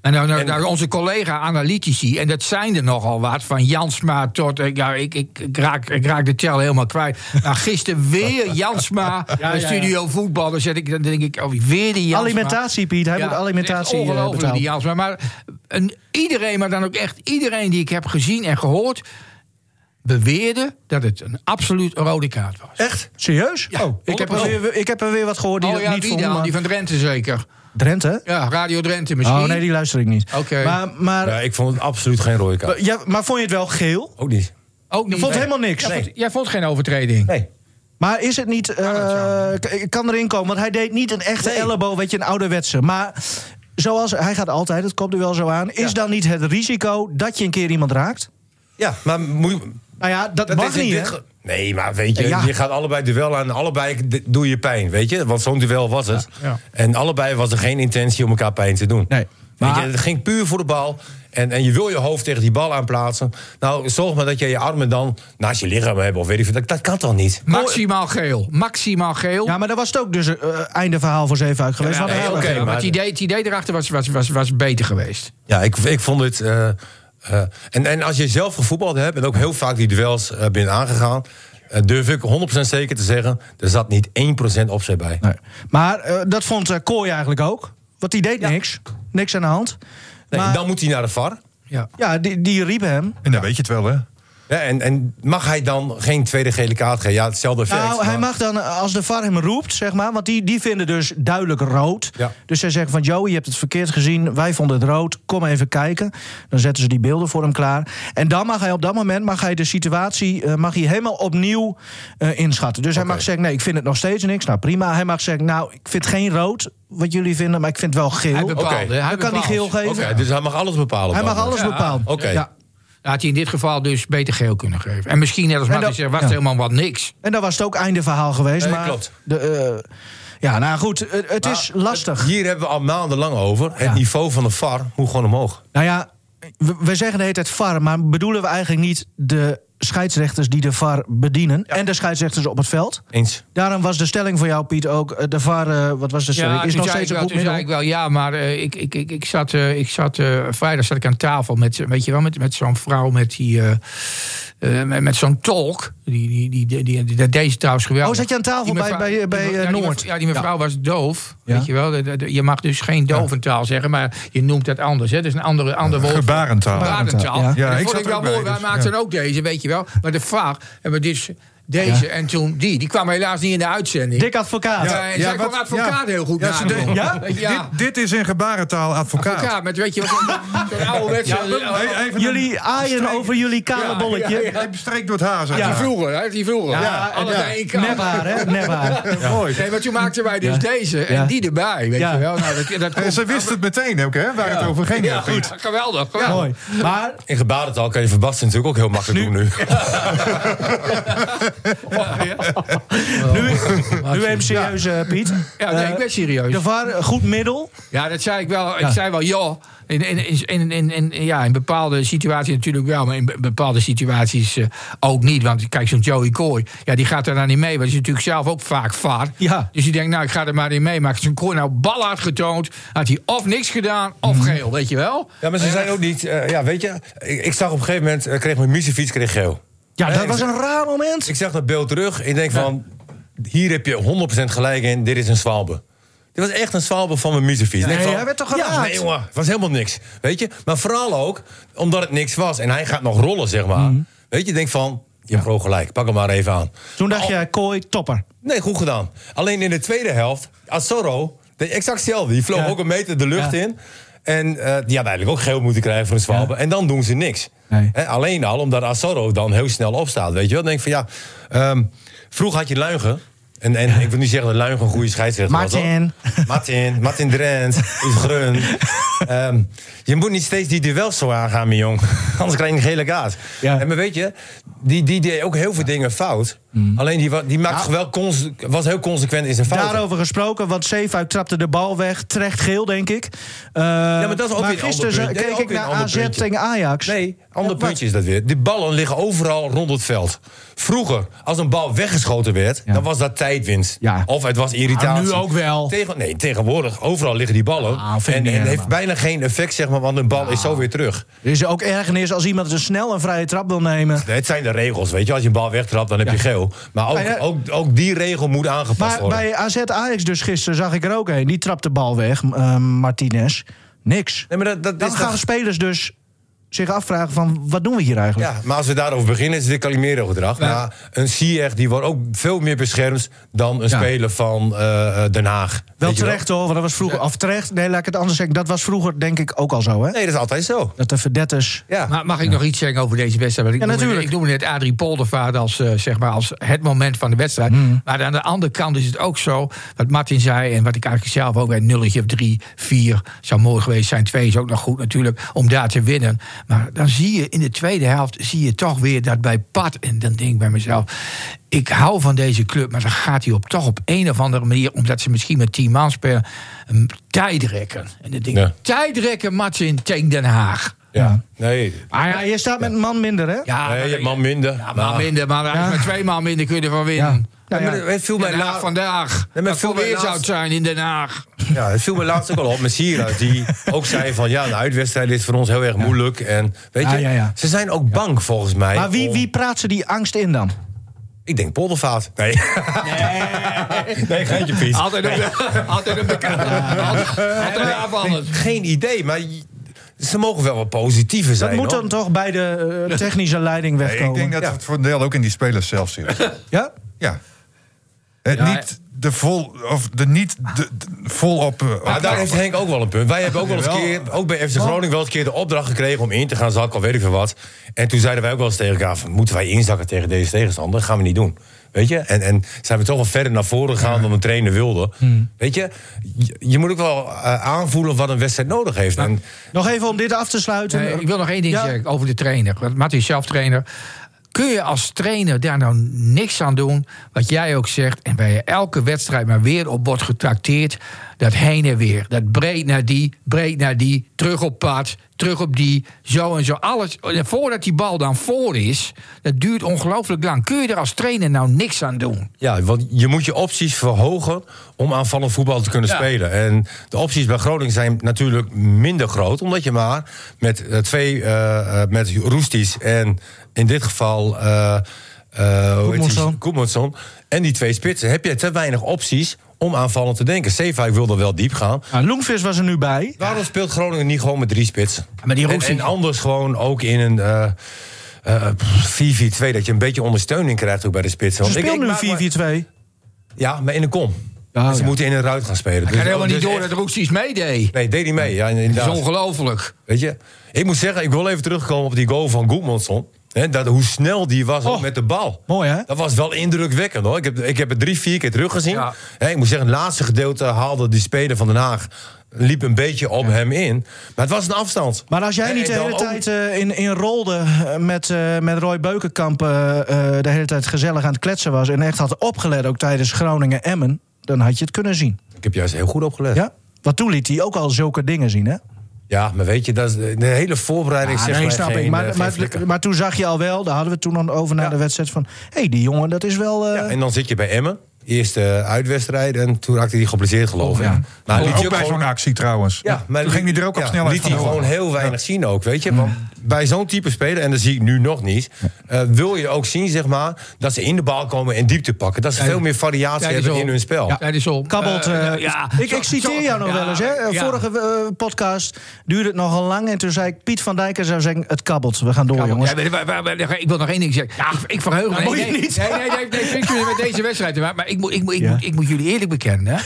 En nou, nou, En- nou, onze collega-analytici, en dat zijn er nogal wat, van Jansma tot. eh, Ja, ik, ik, ik, raak, ik raak de tel helemaal kwijt. Maar gisteren weer Jansma, ja, de ja. studio voetbal. Dan, zet ik, dan denk ik, oh, weer die Jansma. Alimentatie, Piet. Hij moet alimentatie het is eh, ongelooflijk, betalen. die Jansma. Maar een, iedereen, maar dan ook echt iedereen die ik heb gezien en gehoord, beweerde dat het een absoluut rode kaart was. Echt? Serieus? Ja, oh, ik, heb er 100%. weer, ik heb er weer wat gehoord die oh dat ja, niet die vonden. dan, maar- die van Drenthe zeker. Drenthe? Ja, Radio Drenthe misschien. Oh nee, die luister ik niet. Oké. Maar, maar, Ja, ik vond het absoluut geen rode kaart. ja, maar vond je het wel geel? Ook niet. Ook Je niet. vond Nee. helemaal niks. Jij vond- Jij vond geen overtreding. Nee. Maar is het niet... eh, het k- ik kan erin komen, want hij deed niet een echte Nee. elleboog, weet je, een ouderwetse. Maar zoals hij gaat altijd het kopduel zo aan, is dan niet het risico dat je een keer iemand raakt? Ja, maar moet je- Nou ja, dat, mag is niet. dit hè? ge- Nee, maar weet je, Ja. je gaat allebei duel aan. Allebei d- doe je pijn, weet je? Want zo'n duel was het. ja. En allebei was er geen intentie om elkaar pijn te doen. Nee, Weet maar- je, het ging puur voor de bal. En, en je wil je hoofd tegen die bal aanplaatsen. Nou, zorg maar dat je je armen dan naast je lichaam hebt. Of weet ik veel. Dat, dat kan toch niet? Maximaal geel. Maximaal geel. Ja, maar dat was het ook dus eh, einde verhaal voor Zeefuik geweest. Ja, Want nee, hij- oké, oké, maar maar- het idee, het idee erachter was, was, was, was beter geweest. Ja, ik, ik vond het. eh, eh, en, en als je zelf gevoetbald hebt en ook heel vaak die duels eh, bent aangegaan. eh, durf ik 100% zeker te zeggen, er zat niet 1% opzet bij. Nee. Maar eh, dat vond eh, Kooi eigenlijk ook. Want die deed niks. Niks aan de hand. Nee, maar, Dan moet hij naar de VAR. Ja. Ja, die, die riep hem. En dan nou, weet je het wel, hè? Ja, en, en mag hij dan geen tweede gele kaart geven? Ja, hetzelfde effect. Nou, hij maar- mag dan, eh, als de VAR hem roept, zeg maar... want die, die vinden dus duidelijk rood. Ja. Dus zij zeggen van, Joey, je hebt het verkeerd gezien. Wij vonden het rood. Kom even kijken. Dan zetten ze die beelden voor hem klaar. En dan mag hij op dat moment mag hij de situatie eh, mag hij helemaal opnieuw eh, inschatten. Dus hij mag zeggen, nee, ik vind het nog steeds niks. Nou, prima. Hij mag zeggen, nou, ik vind geen rood, wat jullie vinden... maar ik vind het wel geel. Hij Hij, bepaalde. Oké. Hij Dan kan die bepaalde. geel geven. Oké, dus hij mag alles bepalen. mag dan. dus. alles Ja, bepalen. Oké. Ja. Dan had hij in dit geval dus beter geel kunnen geven. En misschien, net als dat- Martin zegt, was ja. het helemaal wat niks. En dan was het ook einde verhaal geweest. Nee, maar klopt. De, eh, ja, nou goed, eh, het is lastig. Hier hebben we al maandenlang over. Het Ja. niveau van de VAR moet gewoon omhoog. Nou ja, we, we zeggen de hele tijd VAR, maar bedoelen we eigenlijk niet de scheidsrechters die de VAR bedienen en de scheidsrechters op het veld? Eens. Daarom was de stelling voor jou, Piet, ook eh, de VAR, eh, wat was de stelling? toen is nog zei steeds ik een wel, goed toen middel. zei ik wel, ja, maar eh, ik, ik, ik, ik zat, eh, ik zat eh, vrijdag zat ik aan tafel met, eh, weet je wel, met, met zo'n vrouw met die, eh, eh, met, met zo'n tolk. Die, die, die, die, die- die- dat deed ze trouwens geweldig. Oh, zat je aan tafel Die bij- mevrouw- bij, eh, bij, die me- eh, ja, die me- Noord? Ja, die mevrouw was doof, Ja. weet je wel. De- de- de- Je mag dus geen doventaal zeggen, maar je noemt dat anders. Hè? Dus een andere, ander woord. Gebarentaal. Barentaal. Ja. Ja, Ja, dat ik vond zat ik er wel ook mooi. bij, Wij dus, maakten ook deze, weet je wel. Maar de VAR hebben we dus deze en toen die. Die kwam helaas niet in de uitzending. Dik advocaat. Ja. zij kon advocaat heel goed ja, ze nadoen. deed- Ja? Ja. Dit, dit is in gebarentaal advocaat. Ja, met weet je wat, zo'n- zo'n ouderwetse... Hey, even een- Jullie aaien over jullie kale Ja, bolletje. Ja, Hij bestreekt door het haar. zeg Die maar. vroeger, hè? Die vroeger. Ja, alle bij één kant. nephaar, hè? Nephaar. Mooi. Nee, maar toen maakten wij dus Ja. deze en Ja. die erbij, weet Ja. je wel. Nou, dat, dat En komt- ze wist het meteen ook, hè, waar het over ging. Ja, Piet. goed. Geweldig. geweldig. Mooi. Maar In gebarentaal kan je verbassen natuurlijk ook heel makkelijk doen nu. nu, nu even serieus, eh, Piet. Ja, nee, ik ben serieus. De VAR, een goed middel. Ja, dat zei ik wel. Ik zei wel, joh. In, in, in, in, in- in- ja, in bepaalde situaties natuurlijk wel, maar in be- bepaalde situaties eh, ook niet. Want kijk, zo'n Joey Kooi, ja, die gaat er dan niet mee. Want die is natuurlijk zelf ook vaak vaar. Ja. Dus die denkt, nou, ik ga er maar niet mee. Maar als zo'n Kooi nou bal had getoond, had hij of niks gedaan, of geel, weet je wel? Ja, maar ze zijn ook niet... eh, ja, weet je, ik, ik zag op een gegeven moment... eh, kreeg mijn muziekfiets kreeg geel. Ja, dat ik- was een raar moment. Ik zag dat beeld terug. Ik denk van, hier heb je 100% gelijk in. Dit is een zwalbe. Dit was echt een zwalbe van mijn muziekfiets. Ik denk Nee, van, hij werd toch Ja, geraakt? nee, jongen, het was helemaal niks. Weet je? Maar vooral ook omdat het niks was. En hij gaat nog rollen, zeg maar. Mhm. Weet je, ik denk van, je hebt gewoon gelijk. Pak hem maar even aan. Toen Oh. dacht jij, kooi, topper. Nee, goed gedaan. Alleen in de tweede helft, Asoro, deed exact hetzelfde. Die vloog Ja. ook een meter de lucht Ja. in. En eh, die had eigenlijk ook geel moeten krijgen voor een zwalbe. En dan doen ze niks. Nee. Hè, alleen al omdat Asoro dan heel snel opstaat. Weet je wel? Dan denk ik van ja, ehm, vroeger had je Luigen. En, en ik wil niet zeggen dat Luigen een goede scheidsrechter was. hoor. Martin. Martin, Martin Drent, Yves Grun. Ehm, je moet niet steeds die duels zo aangaan, mijn jong. Anders krijg je een gele kaart. Ja. En maar weet je, die, die deed ook heel veel dingen fout. Mhm. Alleen die, wa- die maakte wel cons- was heel consequent in zijn fouten. Nou. Daarover gesproken, want Zeefuik trapte de bal weg. Terecht geel, denk ik. ja, maar dat is ook weer een gisteren ander keek punt. Dat is ik ook weer naar een ander AZ puntje. tegen Ajax. Nee, ander Ja, wat? puntje is dat weer. Die ballen liggen overal rond het veld. Vroeger, als een bal weggeschoten werd, dan was dat tijdwinst. Ja. Of het was irritatie. Ah, nu ook wel. Tegen, nee, tegenwoordig, overal liggen die ballen. Ah, vind ik en niet en heeft helemaal. Nou. bijna geen effect, zeg maar, want een bal is zo weer terug. Er is ook ergernis als iemand een snel een vrije trap wil nemen. Nee, Het zijn de regels, weet je. Als je een bal wegtrapt, dan heb je geel. Maar ook, Maar ja- ook, ook die regel moet aangepast Maar worden. bij AZ Ajax dus gisteren zag ik er ook een. Die trapte de bal weg, m- eh, Martinez. Niks. Nee, maar dat, dat Dan is gaan toch- spelers dus zich afvragen van wat doen we hier eigenlijk? Ja, maar als we daarover beginnen, is het weer Calimero-gedrag. Maar een Ziyech die wordt ook veel meer beschermd dan een Ja. speler van eh, Den Haag. Wel Weet je terecht hoor, want dat was vroeger. Of terecht, nee, laat ik het anders zeggen. Dat was vroeger denk ik ook al zo, hè? Nee, dat is altijd zo. Dat de verdetters. Ja. Maar mag ik nog iets zeggen over deze wedstrijd? Want ik, Ja, noemde, natuurlijk. ik noemde net Adrie Poldervaart als, eh, zeg maar als het moment van de wedstrijd. Mhm. Maar aan de andere kant is het ook zo, wat Martin zei... en wat ik eigenlijk zelf ook bij nulletje of drie, vier... zou mooi geweest zijn, twee is ook nog goed natuurlijk, om daar te winnen. Maar dan zie je in de tweede helft, zie je toch weer dat bij Pat... en dan denk ik bij mezelf, ik hou van deze club, maar dan gaat hij op, toch op een of andere manier... omdat ze misschien met 10 man spelen, een tijdrekken. En dan denk ik, Ja. tijdrekken matchen in tegen Den Haag. Ja. Nee, Maar Ah, Ja, je staat met een man minder, hè? ja, nee, je hebt man minder. Ja, maar maar- minder, maar daar is met twee man minder kun je ervan winnen. Ja, maar het viel mij Den Haag laat- vandaag. maar dat veel voor weer laatst- zou het zijn in Den Haag. Ja, het viel me laatst ook al op met Sierra. Die ook zei van ja, een uitwedstrijd is voor ons heel erg moeilijk. En weet Ja, je, ja, ja. ze zijn ook bang volgens mij. Maar wie, om- wie praat ze die angst in dan? Ik denk Poldervaat. Nee. Nee, geintje Piet. Altijd een, altijd een bekende. Altijd, altijd een aanvaller. Geen idee, maar j- ze mogen wel wat positiever zijn. Dat moet hoor. dan toch bij de eh, technische leiding Nee, ik wegkomen? denk dat Ja. het voor een deel ook in die spelers zelf zit. Ja? ja. Het Ja, niet de vol, of de niet de, de- volop. eh, Maar daar heeft Henk ook wel een punt. Wij hebben ook wel eens Jawel. keer, ook bij FC Groningen wel eens keer de opdracht gekregen om in te gaan zakken, of weet ik veel wat. En toen zeiden wij ook wel eens tegen elkaar: van, moeten wij inzakken tegen deze tegenstander? Dat gaan we niet doen. Weet je? En, en zijn we toch wel verder naar voren gegaan dan de trainer wilde. Weet je? je, je moet ook wel eh, aanvoelen wat een wedstrijd nodig heeft. En, Nog even om dit af te sluiten. Nee, ik wil nog één ding Ja. zeggen over de trainer. Want Matti is zelf trainer. Kun je als trainer daar nou niks aan doen? Wat jij ook zegt. En bij elke wedstrijd maar weer op wordt getrakteerd. Dat heen en weer. Dat breed naar die, breed naar die. Terug op pad, terug op die. Zo en zo. Alles. En voordat die bal dan voor is. Dat duurt ongelooflijk lang. Kun je er als trainer nou niks aan doen? ja, want je moet je opties verhogen om aanvallend voetbal te kunnen Ja. spelen. En de opties bij Groningen zijn natuurlijk minder groot, omdat je maar met eh, twee, eh, eh, met Roesties en in dit geval. eh eh, hoe heet die? Goedmundsson. Goedmundsson. En die twee spitsen. Heb je te weinig opties om aanvallend te denken? Zeefuik wilde wel diep gaan. Nou, Loenvis was er nu bij. Waarom speelt Groningen niet gewoon met drie spitsen? Maar die en, Roesties- en anders gewoon ook in een eh, eh, 4-4-2... dat je een beetje ondersteuning krijgt ook bij de spitsen. Ze Want ik- ik speelt nu maak me- 4-4-2. ja, maar in een kom. Ja, Dus ze Oh, ja. moeten in een ruit gaan spelen. Ik ga helemaal niet dus door echt- dat Roesties meedeed. Nee, deed niet mee. Ja, Dat is inderdaad. ongelooflijk. Weet je? Ik moet zeggen, ik wil even terugkomen op die goal van Goedmanson. Hè, dat, hoe snel die was ook Oh. met de bal. Mooi, hè? Dat was wel indrukwekkend hoor. Ik heb, ik heb het drie, vier keer teruggezien. Ja. Hè, ik moet zeggen, het laatste gedeelte haalde die speler van Den Haag. Liep een beetje op hem in. Maar het was een afstand. Maar als jij Hè, niet de en dan hele ook- tijd eh, in, in rolde eh, met, eh, met Roy Beukenkamp... eh, eh, de hele tijd gezellig aan het kletsen was... en echt had opgelet ook tijdens Groningen-Emmen... dan had je het kunnen zien. Ik heb juist heel goed opgelet. Ja, Ja? Want toen liet hij ook al zulke dingen zien, hè? maar weet je, dat is de de hele Ah, voorbereiding. zegt mij geen, eh, Maar, geen maar, flikker. maar, toen zag je al wel, daar hadden we het toen over na de wedstrijd... van, hé, hey, die jongen, dat is wel... eh, Ja, en dan zit je bij Emmen. Eerste uitwedstrijd. En toen raakte hij geblesseerd, geloof ik. Maar liet ook, je ook bij gewoon- zo'n actie trouwens. Ja, maar Toen ging hij er ook op ja, snelheid liet van hij horen. gewoon heel weinig zien ook, weet je. Want bij zo'n type speler, en dat zie ik nu nog niet... eh, wil je ook zien, zeg maar, dat ze in de bal komen en diepte pakken. Dat ze veel meer variatie Tijdens hebben om. in hun spel. Ja, tijdens om. Kabbelt. Eh, eh, nou, ja. ik, ik Zo- zo- citeer jou nog ja, wel eens. Hè? Eh, ja. Vorige eh, podcast duurde het nogal lang. En toen zei ik, Piet van Dijk zou zeggen, het kabbelt. We gaan door, Nou, Ja, jongens. maar- maar- maar- maar- maar- ik wil nog één ding zeggen. Ik- ik verheug me. moet je nee, nee, niet. Nee, nee, nee, nee, vind ik jullie met deze wedstrijd. te maken, Maar ik moet, ik, moet, ik, Ja. moet, ik moet jullie eerlijk bekennen. hè.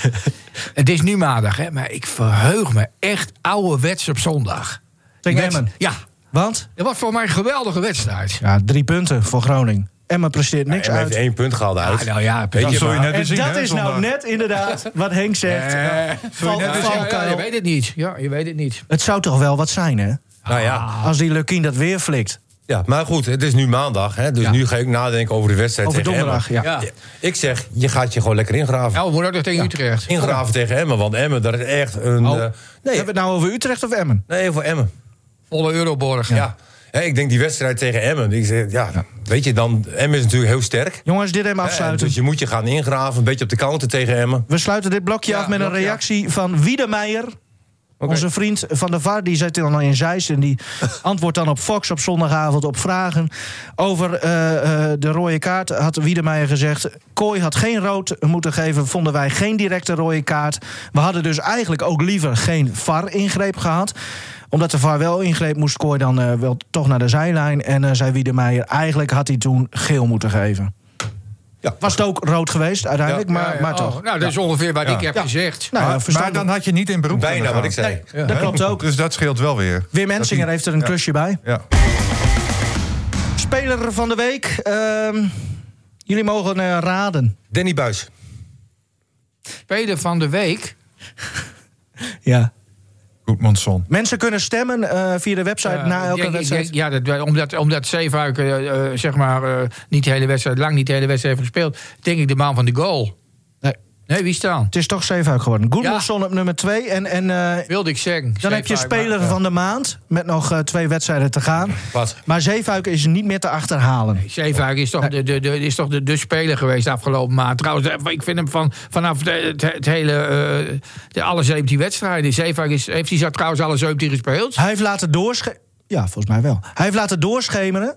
Het is nu maandag, hè, maar ik verheug me echt ouderwets op zondag. Tegen Met- Emmen. Ja, Want? dat was voor mij een geweldige wedstrijd. Ja, drie punten voor Groningen. Emma presteert niks Emmen heeft uit. één punt gehaald uit. Ah, nou ja, Weet Dat je, zul je maar- net weer En zien, dat hè, is zondag. nou net inderdaad wat Henk zegt. Eh, val- net Ja, ja, valkuil. je weet het niet. Ja, je weet het niet. Het zou toch wel wat zijn, hè? nou ja, Als die Lukien dat weer flikt. ja, maar goed, het is nu maandag. Hè, dus Ja. nu ga ik nadenken over de wedstrijd Over tegen donderdag, Emmen. ja. Ja. Ik zeg, je gaat je gewoon lekker ingraven. Ja, we moeten ook nog tegen Utrecht. Ingraven tegen Emmen, want Emmen, dat is echt een... Oh. eh, nee, Hebben we het nou over Utrecht of Emmen? nee, voor Emmen. Volle Euroborg. Ja. Hè, ik denk die wedstrijd tegen Emmen. Ik zeg, ja, Weet je, dan, Emmen is natuurlijk heel sterk. Jongens, dit even En afsluiten. Dus je moet je gaan ingraven, een beetje op de counter tegen Emmen. We sluiten dit blokje af met een blokje af. reactie van Wiedemeijer. Onze vriend van de VAR, die zit dan in Zeist... en die antwoordt dan op Fox op zondagavond op vragen... over eh, eh, de rode kaart, had Wiedemeijer gezegd... Kooi had geen rood moeten geven, vonden wij geen directe rode kaart. We hadden dus eigenlijk ook liever geen VAR-ingreep gehad omdat de VAR wel ingreep, moest Kooi dan eh, wel toch naar de zijlijn. En eh, zei Wiedemeijer, eigenlijk had hij toen geel moeten geven. Ja. Was het ook rood geweest uiteindelijk, Ja, maar, ja, maar oh, toch. Nou, dat is ongeveer wat Ja. ik heb Ja. gezegd. Nou, ja, maar, maar verstandig. dan had je niet in beroep Bijna kunnen wat gaan. ik zei. Dat klopt ook. Dus dat scheelt wel weer. Wim Hensinger heeft er een klusje bij. Ja. Speler van de week. ehm, jullie mogen eh, raden. Danny Buis. Speler van de week. Ja. Goedmondson. Mensen kunnen stemmen eh, via de website eh, na elke ik- ik- wedstrijd. ik- ja, dat, wij- omdat, omdat Zeefuik eh, eh, zeg maar, eh, niet de hele wedstrijd, lang niet de hele wedstrijd heeft gespeeld, denk ik de man van de goal. Nee. Nee, wie staan? Het is toch Zeefuik geworden. Goedmanson op nummer 2. En, en eh, Wilde ik zeggen. dan heb je Zeefuik, maar- speler van de maand. Met nog eh, twee wedstrijden te gaan. Wat? Maar Zeefuik is niet meer te achterhalen. Zeefuik is toch, de, de, de, is toch de, de speler geweest de afgelopen maand. Trouwens, eh, ik vind hem van, vanaf de, het, het hele. eh, de, alle 17 wedstrijden. Zeefuik is, heeft hij zo trouwens alle 17 gespeeld? Hij heeft laten doorschemeren. Ja, volgens mij wel. Hij heeft laten doorschemeren.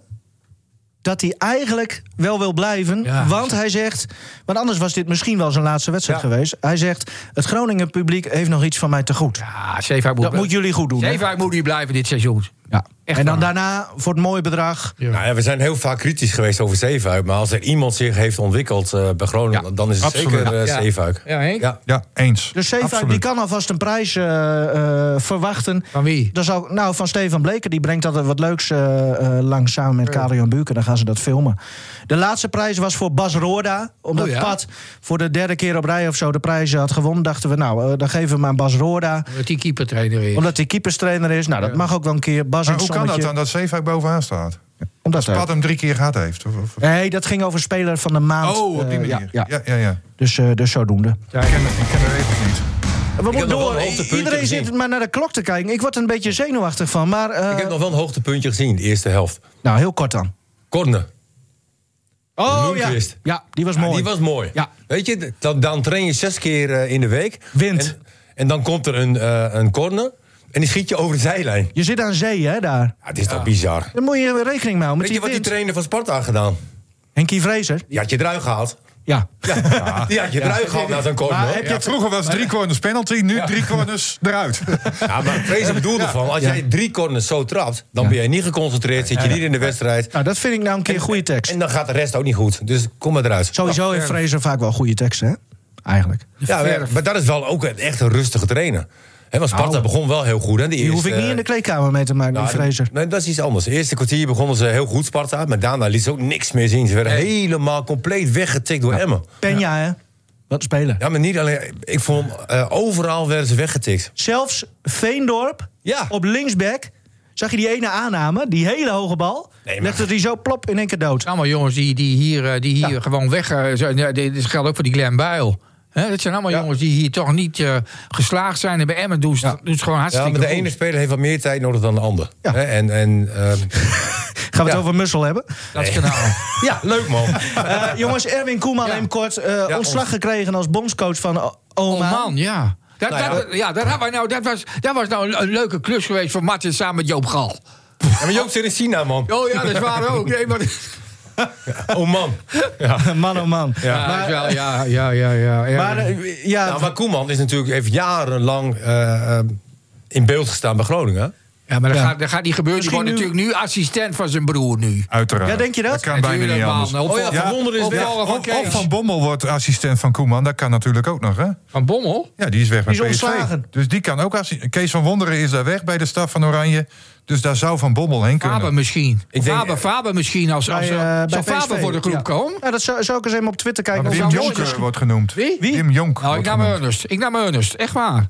Dat hij eigenlijk wel wil blijven. Ja. Want hij zegt. Want anders was dit misschien wel zijn laatste wedstrijd Ja. geweest. Hij zegt. Het Groningen publiek heeft nog iets van mij te goed. Ja, Zeefuik Ah, moet, Dat moet jullie goed doen. hè? Zeefuik moet hier blijven dit seizoen. Ja. Echt En dan waar. daarna voor het mooie bedrag. Nou ja, we zijn heel vaak kritisch geweest over Zeefuik. Maar als er iemand zich heeft ontwikkeld eh, bij Groningen... Ja, dan is het absoluut. zeker eh, Ja. Zeefuik. Ja, Henk? Ja. Ja, eens. Dus Zeefuik Absoluut. die kan alvast een prijs eh, eh, verwachten. Van wie? Dan zou, nou, van Stefan Bleken, die brengt dat er wat leuks eh, eh, langs samen met Karian Buken. Dan gaan ze dat filmen. De laatste prijs was voor Bas Roorda. Omdat Oh ja? Pat voor de derde keer op rij of zo de prijs had gewonnen, dachten we, nou, eh, dan geven we hem aan Bas Roorda. Dat die keepertrainer is. Omdat hij keeperstrainer is. Nou, dat mag ook wel een keer. Bas Maar in hoe het kan dat zonnetje. dan dat Zeefuik bovenaan staat? Omdat Pad er, hem drie keer gehad heeft. Of, of- nee, dat ging over speler van de maand. Oh, op die Eh, manier. ja, ja. ja, ja. ja. Dus, eh, dus zodoende. Ik, ken, ik ken de regels niet. We moeten heb nog wel door. een hoogtepuntje Iedereen gezien. zit maar naar de klok te kijken. Ik word er een beetje zenuwachtig van. Maar, eh, Ik heb nog wel een hoogtepuntje gezien, de eerste helft. Nou, heel kort dan. Corner. Oh ja. Bloemquist. ja, die was Ja, mooi. die was mooi. Ja. Weet je, dan, dan train je zes keer eh, in de week. Wind. En, en dan komt er een, eh, een corner en die schiet je over de zijlijn. Je zit aan zee, hè, daar. Ja, het is toch bizar. Daar moet je rekening mee houden. Met Weet je die wat die wind. trainer van Sparta had gedaan? Henkie Vrezer. Die had je eruit gehaald. Ja. Ja, die had je eruit gehaald na zo'n corner. Maar hoor. heb je Ja, vroeger was drie corners penalty, nu drie corners eruit. Ja, maar Vrezen bedoelde van, als jij drie corners zo trapt... dan ben jij niet geconcentreerd, zit je niet in de wedstrijd... Nou, dat vind ik nou een keer goede tekst. en dan gaat de rest ook niet goed. Dus kom maar eruit. Sowieso heeft Vrezer vaak wel goede teksten, hè? Eigenlijk. Ja, maar, maar dat is wel ook een- echt een rustige trainer. Hè, want Sparta begon wel heel goed. Hè, die Nou. Die hoef eerste- ik niet in de kleedkamer mee te maken, die eh, Nou, Vrezer. Nee, dat is iets anders. De eerste kwartier begonnen ze heel goed, Sparta. Maar daarna liet ze ook niks meer zien. Ze werden helemaal compleet weggetikt door Emmen. Penja, hè? Wat spelen. Ja, maar niet alleen... Ik vond, eh, overal werden ze weggetikt. Zelfs Veendorp Ja. op linksback. Zag je die ene aanname, die hele hoge bal? Nee, Nee, maar- Legde die zo plop in één keer dood. allemaal jongens die, die hier, eh, die hier gewoon weg eh, zijn. Ja, dit dit geldt ook voor die Glenn Buil. Hè, dat zijn allemaal jongens die hier toch niet eh, geslaagd zijn. En bij Emmen doen ze, doen ze gewoon Ja, hartstikke maar de goed. ene speler heeft wat meer tijd nodig dan de ander. Ja. Hè, en... en ehm, Gaan we het Ja. over Mussel hebben? Dat kanaal. ja, leuk man. Eh, jongens, Erwin Koeman Ja. heeft kort eh, Ja, ontslag ons- gekregen als bondscoach van O- Oman. Oh man, ja. Dat, Nou ja, dat, ja, dat, hadden wij nou, dat, was, dat was nou een, een leuke klus geweest voor Martin samen met Joop Gal. Ja, maar Joop zit in China, man. Oh ja, dat is waar ook. Nee, maar, Oh man. Ja. Man, oh man. ja, dat is wel, ja, ja, ja, ja. ja. Maar eh, ja, Nou, maar Koeman is natuurlijk, heeft jarenlang eh, eh, in beeld gestaan bij Groningen. ja, maar dat, Gaat, dat gaat niet gebeuren. Die Misschien wordt nu- natuurlijk nu assistent van zijn broer nu. Uiteraard. Ja, denk je dat? Dat kan bijna niet Natuurlijk, anders. man. Oh ja, Van Wonder is weg. opvolger Of, van of Kees. Van Bommel wordt assistent van Koeman. Dat kan natuurlijk ook nog, hè? Van Bommel? Ja, die is weg bij Die is PSV. ontslagen. Dus die kan ook assistent. Kees van Wonderen is daar weg bij de staf van Oranje. Dus daar zou Van Bommel heen kunnen. Faber misschien. Ik denk- Faber, Faber misschien. Als, als, bij, eh, zou bij PSV. Faber voor de groep ja. komen? Ja, dat zou, zou ik eens even op Twitter kijken. Wim Of- Jonker wordt genoemd. Wie? Wie? Wim Jonker Nou, ik wordt nam genoemd. Ernest. Ik nam Ernest. Echt waar.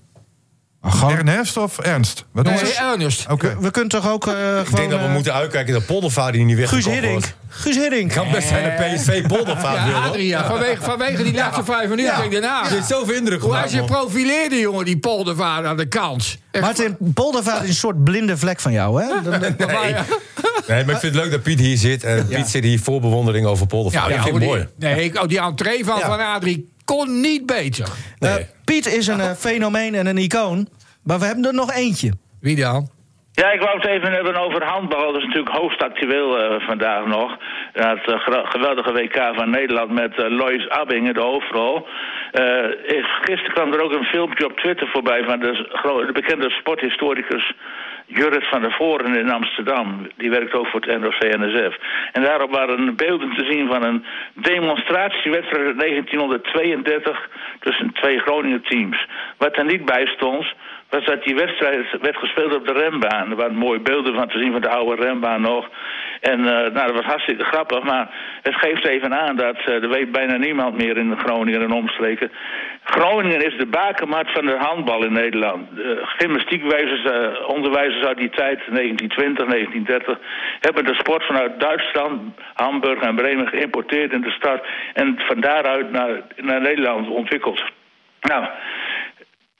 Ernest of Ernst? Wat Nee, is het? Ernest. Oké. We kunnen toch ook eh, gewoon... Ik denk dat we eh, moeten uitkijken dat Poldervaar die niet Guus weggekocht wordt. Hiddink. Guus Hiddink. kan best zijn dat PSV Poldervaar wil. Ja, hoor. Adria. Vanwege, vanwege die laatste vijf minuten. Ik denk, nou, Je hebt zoveel indruk Hoe hij gemaakt, zich man. profileerde, jongen, die poldervaar aan de kant. Echt, Martin, Poldervaart is een soort blinde vlek van jou, hè? Dat- maar- maar- ja. Nee, maar ik vind het leuk dat Piet hier zit. En Piet zit hier voor bewondering over Poldervaar. ja, dat vind hoe ik die- mooi. Nee, ik, oh, die entree van, Ja. van Adrie kon niet beter. Nee. Eh, Piet is een eh, fenomeen en een icoon. Maar we hebben er nog eentje. Wie dan? Ja, ik wou het even hebben over handbal. Dat is natuurlijk hoofdactueel eh, vandaag nog. Dat eh, gro- geweldige WK van Nederland met eh, Lois Abbing in de hoofdrol. Eh, ik- gisteren kwam er ook een filmpje op Twitter voorbij van de, s- gro- de bekende sporthistoricus Jurrit van der Voren in Amsterdam. Die werkt ook voor het NOC-NSF. En daarop waren beelden te zien van een demonstratiewedstrijd uit 1932 tussen twee Groningen teams. Wat er niet bij stond, was dat die wedstrijd werd gespeeld op de rembaan. Er waren mooie beelden van te zien van de oude rembaan nog. En eh, nou, dat was hartstikke grappig, maar het geeft even aan dat eh, er weet bijna niemand meer in Groningen en omstreken. Groningen is de bakermat van de handbal in Nederland. De gymnastiekwijzers, eh, onderwijzers uit die tijd, 1920, 1930, hebben de sport vanuit Duitsland, Hamburg en Bremen geïmporteerd in de stad en van daaruit naar, naar Nederland ontwikkeld. Nou,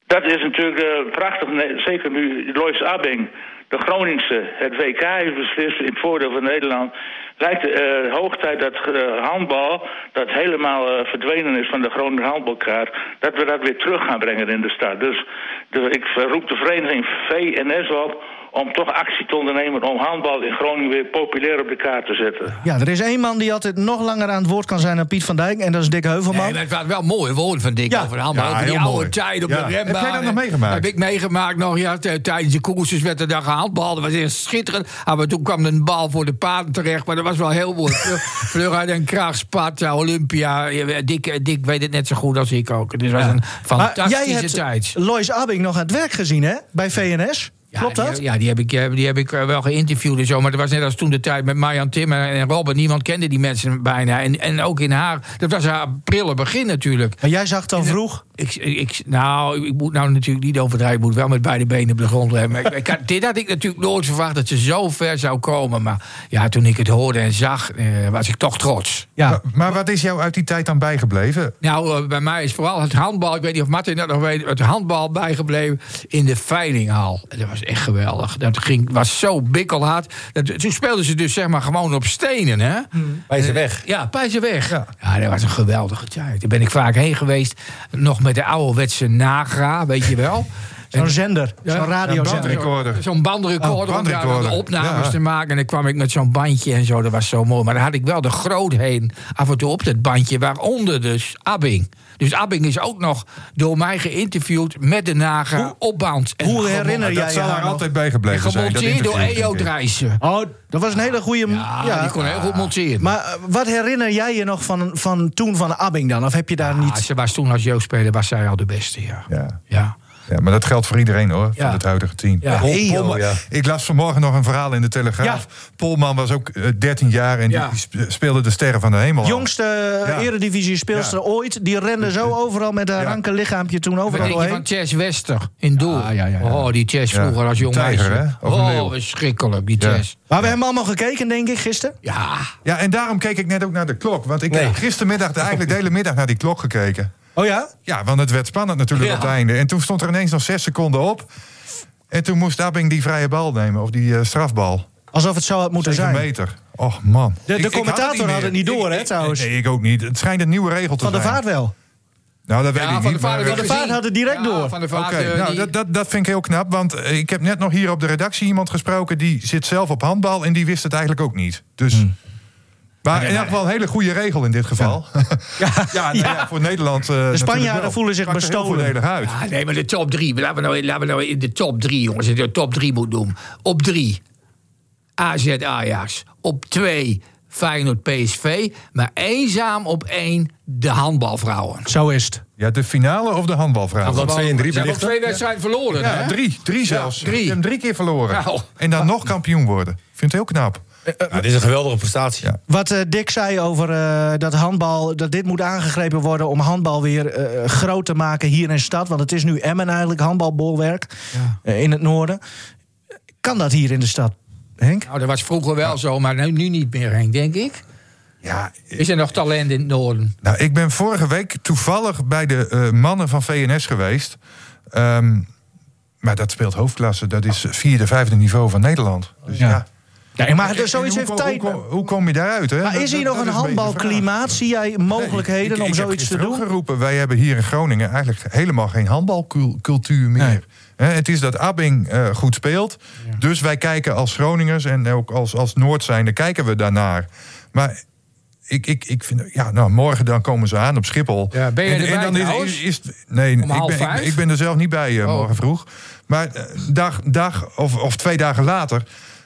dat is natuurlijk eh, prachtig, nee, zeker nu Lois Abbing, de Groningse, het WK heeft beslist in het voordeel van Nederland. Lijkt eh hoog tijd dat eh, handbal, dat helemaal eh, verdwenen is van de Groninger handbalkaart, dat we dat weer terug gaan brengen in de stad. Dus de- ik roep de vereniging VNS op om toch actie te ondernemen om handbal in Groningen weer populair op de kaart te zetten. Ja, er is één man die altijd nog langer aan het woord kan zijn dan Piet van Dijk. En dat is Dick Heuvelman. Nee, maar het was wel mooi woorden van Dick Ja. over de handbal. Ja, over die heel oude mooi. tijd op Ja. de Heb rembaan. jij dat nog En- meegemaakt? Heb ik meegemaakt nog. Ja, t- tijdens de koersjes werd er dan gehandbald. Dat was eerst schitterend. Ah, Maar toen kwam een bal voor de paarden terecht. Maar dat was wel heel mooi. Fleur- Fleur uit en Kraag, Sparta, eh, Olympia. Ja, Dick, eh, Dick weet het net zo goed als ik ook. Dus Het was een maar fantastische jij hebt tijd. Lois Abbing nog aan het werk gezien, hè? Bij VNS. Ja, Klopt dat? Die, ja, die heb ik, eh, die heb ik eh, wel geïnterviewd en zo. Maar dat was net als toen de tijd met Marjan Timmer en Robert. Niemand kende die mensen bijna. En, en ook in haar. Dat was haar prille begin natuurlijk. Maar jij zag dan vroeg. Ik, ik, nou, ik moet nou natuurlijk niet overdrijven. Ik moet wel met beide benen op de grond hebben. Maar ik- ik had- dit had ik natuurlijk nooit verwacht dat ze zo ver zou komen. Maar ja, toen ik het hoorde en zag, eh, was ik toch trots. Ja. Maar, maar wat is jou uit die tijd dan bijgebleven? Nou, eh, bij mij is vooral het handbal. Ik weet niet of Martin dat nog weet. Het handbal bijgebleven in de veilinghal. En dat was echt geweldig. Dat ging, was zo bikkelhard. Dat, toen speelden ze dus zeg maar gewoon op stenen, hè? Bij ze weg. Ja, Pijzenweg. Ja. ja, dat was een geweldige tijd. Daar ben ik vaak heen geweest. Nog met de ouderwetse Nagra, weet je wel. Zo'n zender. Ja, Zo'n radiozender. bandrecord. bandrecorder. Zo'n bandrecorder Oh, om daar dan de bandrecorder. opnames Ja. te maken. En dan kwam ik met zo'n bandje en zo. Dat was zo mooi. Maar dan had ik wel de groot heen af en toe op dat bandje. Waaronder dus Abbing. Dus Abbing is ook nog door mij geïnterviewd met de naga op band. En Hoe herinner dat jij je zal haar haar nog? altijd bijgebleven zijn. dat gemonteerd door E interview, EO denk ik. Drijssen. Oh, dat was een hele goede... Ja, die kon heel goed monteren. Maar eh, wat herinner jij je nog van, van toen van Abbing dan? Of heb je daar Ah, niet... ze was toen als jeugdspeler was zij al de beste, ja. Ja. Ja. ja, maar dat geldt voor iedereen hoor, Ja. van het huidige team. Ja. Pol- Hey, joh, Polman- ja. Ik las vanmorgen nog een verhaal in de Telegraaf. Polman was ook eh, 13 jaar en Ja. die sp- speelde de sterren van de hemel. af. Jongste eh, Ja. eredivisie speelster Ja. ooit. Die rende zo overal met haar Ja. ranke lichaampje toen Wat overal denk je doorheen. van Chess Wester in Doel? Oh, die Chess Ja. vroeger als jong Tijger, meisje. hè? Of een Oh, leeuw. verschrikkelijk, die Ja. Chess. Maar we hebben allemaal gekeken, denk ik, gisteren. Ja. Ja, en daarom keek ik net ook naar de klok. Want ik heb gistermiddag de- eigenlijk de hele middag naar die klok gekeken. Oh ja? Ja, want het werd spannend natuurlijk Ja. op het einde. En toen stond er ineens nog zes seconden op. En toen moest Abing die vrije bal nemen, of die eh, strafbal. Alsof het zo had moeten Zeven zijn. meter. Och man. De- de Ik- ik had commentator had meer. het niet door, Ik- hè, trouwens. Nee, ik ook niet. Het schijnt een nieuwe regel te Van de zijn. vaart wel. Nou, dat weet Ja, ik van niet. de vader, maar- de vaart had het direct door. Van de Oké, vaart, eh, nou, die- dat, dat, dat vind ik heel knap. Want eh, ik heb net nog hier op de redactie iemand gesproken... die zit zelf op handbal en die wist het eigenlijk ook niet. Dus... Maar in elk geval een hele goede regel in dit geval. Ja, nou ja, Ja. voor Nederland. eh, natuurlijk Spanjaarden wel. voelen zich Pakt er heel bestolen. voordelig uit. Ah, nee, maar de top drie. Laten we nou, laten we nou in de top drie, jongens. De top drie moet doen. Op drie, AZ Ajax. Op twee, Feyenoord PSV. Maar eenzaam op één, de handbalvrouwen. Zo is het. Ja, de finale of de handbalvraag? Want twee en drie Ze hebben ook belichten. twee wedstrijden verloren, Ja, hè? drie. Drie zelfs. drie. Je hebt hem drie keer verloren. Nou. En dan nog kampioen worden. Ik vind het heel knap. Ja, dit is een geweldige prestatie. Ja. Wat eh, Dick zei over eh, dat handbal, dat dit moet aangegrepen worden om handbal weer eh, groot te maken hier in de stad. Want het is nu Emmen eigenlijk, handbalbolwerk eh, in het noorden. Kan dat hier in de stad, Henk? Nou, dat was vroeger wel zo, maar nu, nu niet meer, Henk, denk ik. Ja, Is er nog talent in het noorden? Nou, ik ben vorige week toevallig bij de eh, mannen van VNS geweest. Ehm, maar dat speelt hoofdklasse. Dat is vierde, vijfde niveau van Nederland. Dus ja. Nee, maar En dus zoiets hoe heeft kom- tijd. Hoe, kom- hoe kom je daaruit? Hè? Maar Dat- is hier dat- nog dat een is beetje de handbalklimaat? Zie jij vraag. mogelijkheden Ik- om ik heb zoiets te gisteren doen? ook geroepen, wij hebben hier in Groningen eigenlijk helemaal geen handbalcultuur meer. Nee. Hè, het is dat Abing eh, goed speelt. Dus wij kijken als Groningers en ook als, als Noord zijnde kijken we daarnaar. Maar ik, ik, ik vind, ja, nou, morgen dan komen ze aan op Schiphol. Ja, ben je en, erbij en dan is, trouwens? is, is- nee, ik ben, half ik, ben, vijf? ik ben er zelf niet bij eh, Oh. morgen vroeg. Maar eh, dag, dag of, of twee dagen later,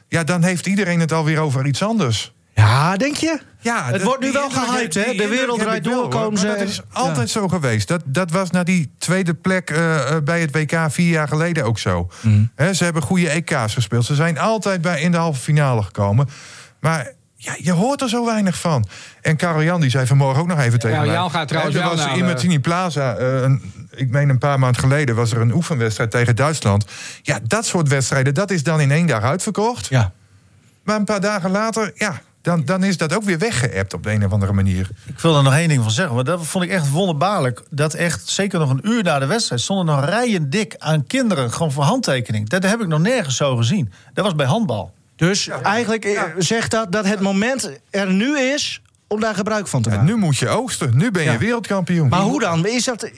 ja, dan heeft iedereen het alweer over iets anders. Ja, denk je? Ja, het dat- wordt nu die wel indruk heb- gehyped, hè? die De indruk wereld heb draait ik wel, door, hoor. komen Maar ze. Dat en- is altijd zo geweest. Dat, dat was naar die tweede plek eh, eh, bij het WK vier jaar geleden ook zo. Hè, ze hebben goede EK's gespeeld. Ze zijn altijd bij, in de halve finale gekomen. Maar ja, je hoort er zo weinig van. En Karel Jan die zei vanmorgen ook nog even tegen mij. Jan gaat trouwens Er wel was naar in de- Martini Plaza, eh, een, ik meen een paar maanden geleden... was er een oefenwedstrijd tegen Duitsland. Ja, dat soort wedstrijden, dat is dan in één dag uitverkocht. Ja. Maar een paar dagen later, ja, dan, dan is dat ook weer weggeëpt op de een of andere manier. Ik wil er nog één ding van zeggen, want dat vond ik echt wonderbaarlijk. Dat echt, zeker nog een uur na de wedstrijd, stonden nog rijen dik aan kinderen gewoon voor handtekening. Dat heb ik nog nergens zo gezien. Dat was bij handbal. Dus eigenlijk eh, zegt dat dat het moment er nu is om daar gebruik van te En maken. nu moet je oogsten, nu ben je Ja. wereldkampioen. Maar hoe dan? Is dat,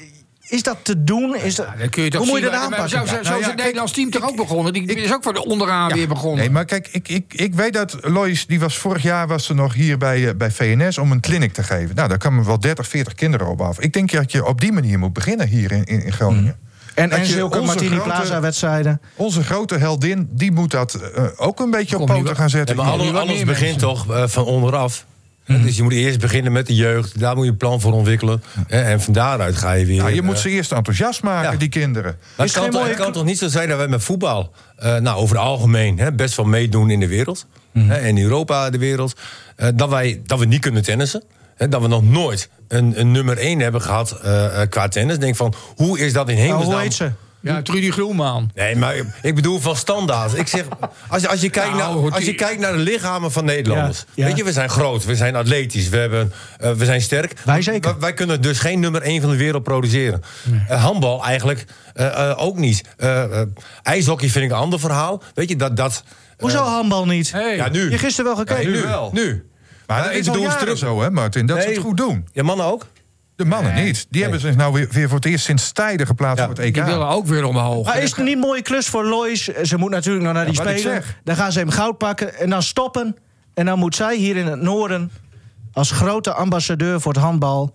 is dat te doen? Is dat, Dan kun je toch hoe moet je zien dat waar- aanpakken? Zo, zo, zo Nou is ja, het Nederlands team toch ook begonnen. Die is ook van onderaan weer begonnen. Nee, maar kijk, ik, ik, ik weet dat Lois, die was vorig jaar was ze nog hier bij, eh, bij VNS om een clinic te geven. Nou, daar kwamen wel 30, 40 kinderen op af. Ik denk dat je op die manier moet beginnen hier in, in, in Groningen. Mm. En, Dat en je zulke onze Martini grote- Plaza-wedstrijden. Onze grote heldin, die moet dat eh, ook een beetje op Kom, nu poten wel- gaan zetten. maar hier. alles, nu wat alles meer begint toch eh, van onderaf. Mhm. Dus je moet eerst beginnen met de jeugd. Daar moet je een plan voor ontwikkelen. Eh, En van daaruit ga je weer... Nou, Ja, je eh, moet ze eerst enthousiast maken, ja. die kinderen. Maar Is het kan, geen toch, mooie het kan cl- toch niet zo zijn dat wij met voetbal... eh, nou, over het algemeen hè, best wel meedoen in de wereld. Mhm. Hè, in Europa, de wereld. eh, dat, wij, dat we niet kunnen tennissen. Hè, dat we nog nooit een, een nummer 1 hebben gehad eh, eh, qua tennis. Denk van, hoe is dat in Nou, hemelsnaam? hoe heet ze? Ja, Trudy Groenman. Nee, maar ik bedoel van standaard. Ik zeg, als, je- als, je kijkt Nou, naar, goed, als je die- kijkt naar de lichamen van Nederlanders. Ja, ja. Weet je, we zijn groot, we zijn atletisch, we, hebben, eh, we zijn sterk. Wij zeker. W- Wij kunnen dus geen nummer 1 van de wereld produceren. Eh, handbal eigenlijk eh, eh, ook niet. Eh, eh, ijshockey vind ik een ander verhaal. Weet je, dat... dat Hoezo handbal niet? Hey. ja, nu. Je gisteren wel gekeken? Nee, nu, Nu wel. nu. Maar Ja, dat ik is al bedoel, jaren terug- zo, hè, Martin, dat ze Nee. het goed doen. Ja, mannen ook? De mannen niet. Die hebben zich nou weer, weer voor het eerst sinds tijden geplaatst Ja, voor het EK. Die willen ook weer omhoog. Maar is het niet een mooie klus voor Lois? Ze moet natuurlijk nog naar die wat ik spelen. zeg. Dan gaan ze hem goud pakken en dan stoppen. En dan moet zij hier in het noorden als grote ambassadeur voor het handbal.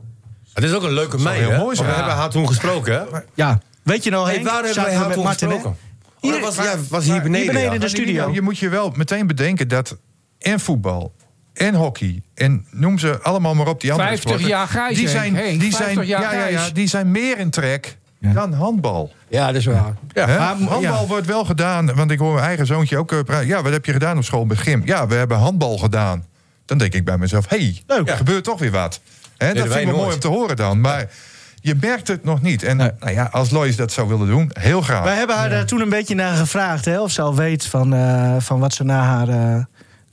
Het is ook een leuke meid, heel hè? mooi zijn. Want We hebben haar toen gesproken, hè? Ja, weet je nou Hey, Henk? waar hebben Zaten we wij haar met toen Martin, hè? gesproken? Oh, Hier- dat was, ja, was hier beneden. beneden dus, ja. de studio. nou, Je moet je wel meteen bedenken dat en voetbal en hockey en noem ze allemaal maar op die andere 50 sporten, jaar grijs, die Henk. zijn, Henk, die 50 zijn, jaar ja, ja, ja, grijs. die zijn meer in trek dan handbal. Ja, dat is waar. Hè? maar- handbal ja. wordt wel gedaan, want ik hoor mijn eigen zoontje ook eh, praten. Ja, wat heb je gedaan op school met gym? Ja, we hebben handbal gedaan. Dan denk ik bij mezelf, hé, hey, Leuk. er gebeurt toch weer wat. Hè, Deden dat vind wij ik wel mooi nooit. om te horen dan, maar... Je merkt het nog niet. En nou ja, als Lois dat zou willen doen, heel graag. Wij hebben haar daar toen een beetje naar gevraagd. Hè, of ze al weet van, eh, van wat ze na haar eh,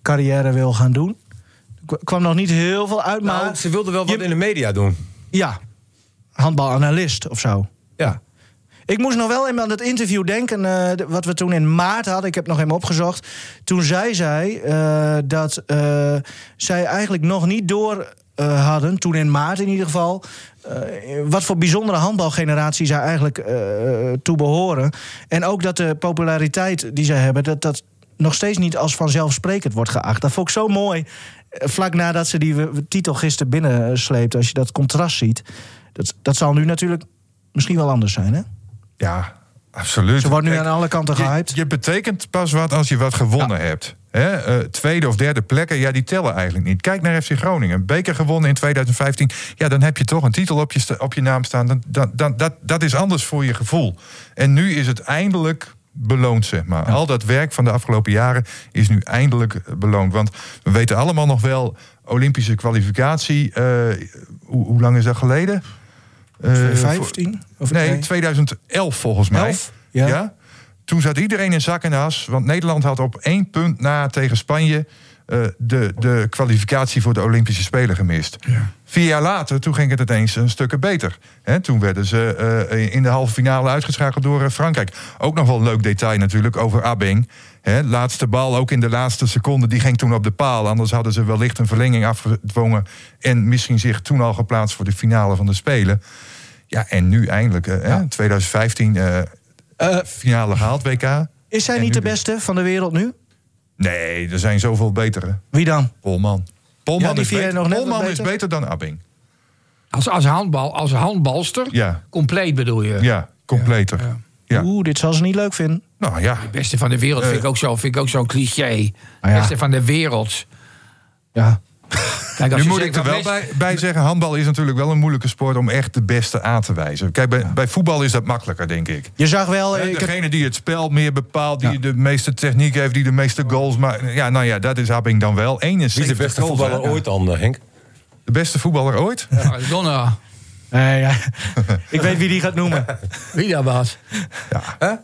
carrière wil gaan doen. Er kwa- kwam nog niet heel veel uit, Nou, maar ze wilde wel wat je- in de media doen. ja, handbalanalist of zo. Ja. Ik moest nog wel even aan het interview denken, eh, d- wat we toen in maart hadden. Ik heb nog even opgezocht. Toen zij zei eh, dat eh, zij eigenlijk nog niet door eh, hadden, toen in maart in ieder geval, eh, wat voor bijzondere handbalgeneratie zij eigenlijk eh, toe behoren. En ook dat de populariteit die zij hebben, dat dat nog steeds niet als vanzelfsprekend wordt geacht. Dat vond ik zo mooi, eh, vlak nadat ze die eh, titel gisteren binnensleept, als je dat contrast ziet. Dat, dat zal nu natuurlijk misschien wel anders zijn, hè? Ja, absoluut. Ze wordt nu Kijk, aan alle kanten je, gehyped. je betekent pas wat als je wat gewonnen hebt. Hè? eh, tweede of derde plekken, ja, die tellen eigenlijk niet. Kijk naar FC Groningen. Beker gewonnen in 2015. Ja, dan heb je toch een titel op je, sta- op je naam staan. Dan, dan, dan, dat, dat is anders voor je gevoel. En nu is het eindelijk beloond, zeg maar. Al dat werk van de afgelopen jaren is nu eindelijk eh, beloond. Want we weten allemaal nog wel... Olympische kwalificatie, eh, hoe, hoe lang is dat geleden? Eh, voor- 2015? Of nee, 2011 volgens mij. Elf? Ja. Toen zat iedereen in zak en as. Want Nederland had op één punt na tegen Spanje... eh, de, de kwalificatie voor de Olympische Spelen gemist. Vier jaar later, toen ging het ineens een stukken beter. Hè, toen werden ze eh, in de halve finale uitgeschakeld door eh, Frankrijk. Ook nog wel een leuk detail natuurlijk over Abing. Hè, laatste bal, ook in de laatste seconde, die ging toen op de paal. Anders hadden ze wellicht een verlenging afgedwongen... en misschien zich toen al geplaatst voor de finale van de Spelen. Ja, en nu eindelijk, eh, hè, 2015, eh, finale gehaald, WK. Is zij En niet nu de dus. beste van de wereld nu? Nee, er zijn zoveel betere. Wie dan? Polman. Polman, Ja, die is, vind jij beter. nog net wat Polman is beter? beter dan Abing. Als, als, handbal, als handbalster, Ja. compleet bedoel je. Ja, completer. Ja, Oeh, dit zal ze niet leuk vinden. Nou ja. Beste van de wereld vind ik ook zo- vind ik ook zo'n cliché. ja. Beste van de wereld. Ja. Kijk, als Nu je moet zegt ik er dat wel Messi- bij, bij zeggen, handbal is natuurlijk wel een moeilijke sport om echt de beste aan te wijzen. Kijk, bij, bij voetbal is dat makkelijker, denk ik. Je zag wel... Hè, ik heb- Degene die het spel meer bepaalt, die de meeste techniek heeft, die de meeste goals maakt. Ja, nou ja, dat is Abing dan wel. Wie is 71 de beste goals, hè? voetballer ooit dan, eh, Henk? De beste voetballer ooit? Oh, Maradona. Nee, ja. ik weet wie die gaat noemen. Wie dat was.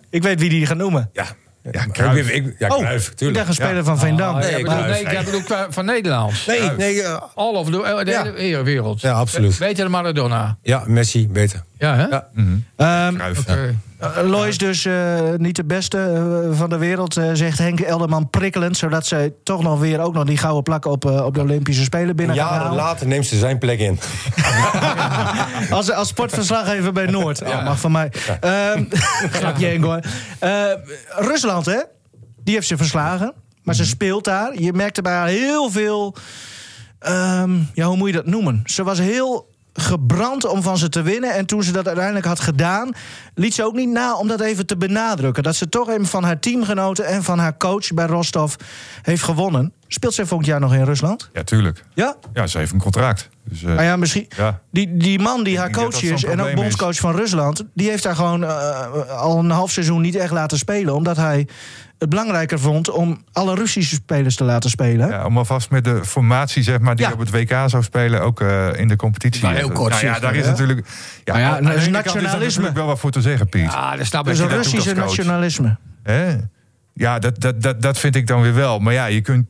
Ik weet wie die gaat noemen. Ja, Oh, Ja, Kruijf. Cruijff. Ik, ik, ja Cruijff, ik dacht tuurlijk. een speler van Veendam. Nou, Ah, nee, ik bedoel, Cruijff. nee, ik bedoel qua- van Nederlands. Nee, nee eh, All over the, eh, de Ja. hele wereld. Ja, absoluut. Beter dan Maradona. ja, Messi, beter. Ja, hè? Ja. Ehm, Cruijff. Oké. Eh, Lois dus eh, niet de beste eh, van de wereld, eh, zegt Henk Elderman prikkelend. Zodat zij toch nog weer ook nog die gouden plak op, eh, op de Olympische Spelen binnen gaan Jaren halen. later neemt ze zijn plek in. Als, als sportverslaggever bij Noord. Oh, mag van mij. Ehm grapje Henk hoor. Eh, Rusland hè, die heeft ze verslagen. Maar ze speelt daar. Je merkte bij haar heel veel... ehm, ja, hoe moet je dat noemen? Ze was heel gebrand om van ze te winnen. En toen ze dat uiteindelijk had gedaan, liet ze ook niet na om dat even te benadrukken. Dat ze toch even van haar teamgenoten en van haar coach bij Rostov heeft gewonnen. Speelt zij volgend jaar nog in Rusland? Ja, tuurlijk. Ja? Ja, ze heeft een contract. Dus, eh, Nou ja, misschien. Ja. Die, die man die haar denk dat coach dat is zo'n en ook probleem is. bondscoach van Rusland, die heeft haar gewoon eh, al een half seizoen niet echt laten spelen. Omdat hij het belangrijker vond om alle Russische spelers te laten spelen. Dus Ja, om alvast met de formatie, zeg maar, die Ja. op het WK zou spelen, ook eh, in de competitie. Maar heel Eh, kort Nou ja, zicht, daar hè? is natuurlijk. Ja, Nou ja, aan de ene kant Is daar nationalisme. natuurlijk wel wat voor te zeggen, Piet. Ah, dat snap ik. Dus een dat doet Russische als coach. nationalisme. Hè? Ja, dat, dat, dat, dat vind ik dan weer wel. Maar ja, je kunt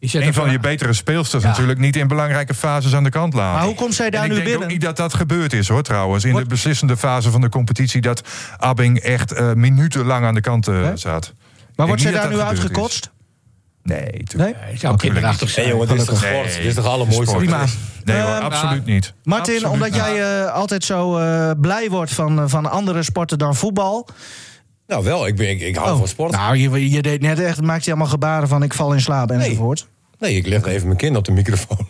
Je zet een er van je betere speelsters natuurlijk niet in belangrijke fases aan de kant laten. Maar hoe komt zij daar en ik nu denk binnen? ook niet dat dat gebeurd is, hoor, trouwens. In Wordt- de beslissende fase van de competitie... dat Abing echt eh, minutenlang aan de kant eh, Hè? zat. Maar Ik wordt zij denk daar niet nu dat dat gebeurd is. uitgekotst? Nee, tuurlijk. Nee? Ik zou kinderachtig Nee, zijn. jongen, dit is toch Gelukkig. sport? Nee, Dit is toch allermooiste sport. Prima. Nee hoor, Ehm, absoluut niet. Martin, Absoluut omdat niet. jij eh, altijd zo eh, blij wordt van, eh, van andere sporten dan voetbal. Nou wel, ik, ben, ik, ik hou Oh, van sport. Nou, je, je deed net echt, maakte je allemaal gebaren van ik val in slaap enzovoort. Nee, ik leg even mijn kin op de microfoon.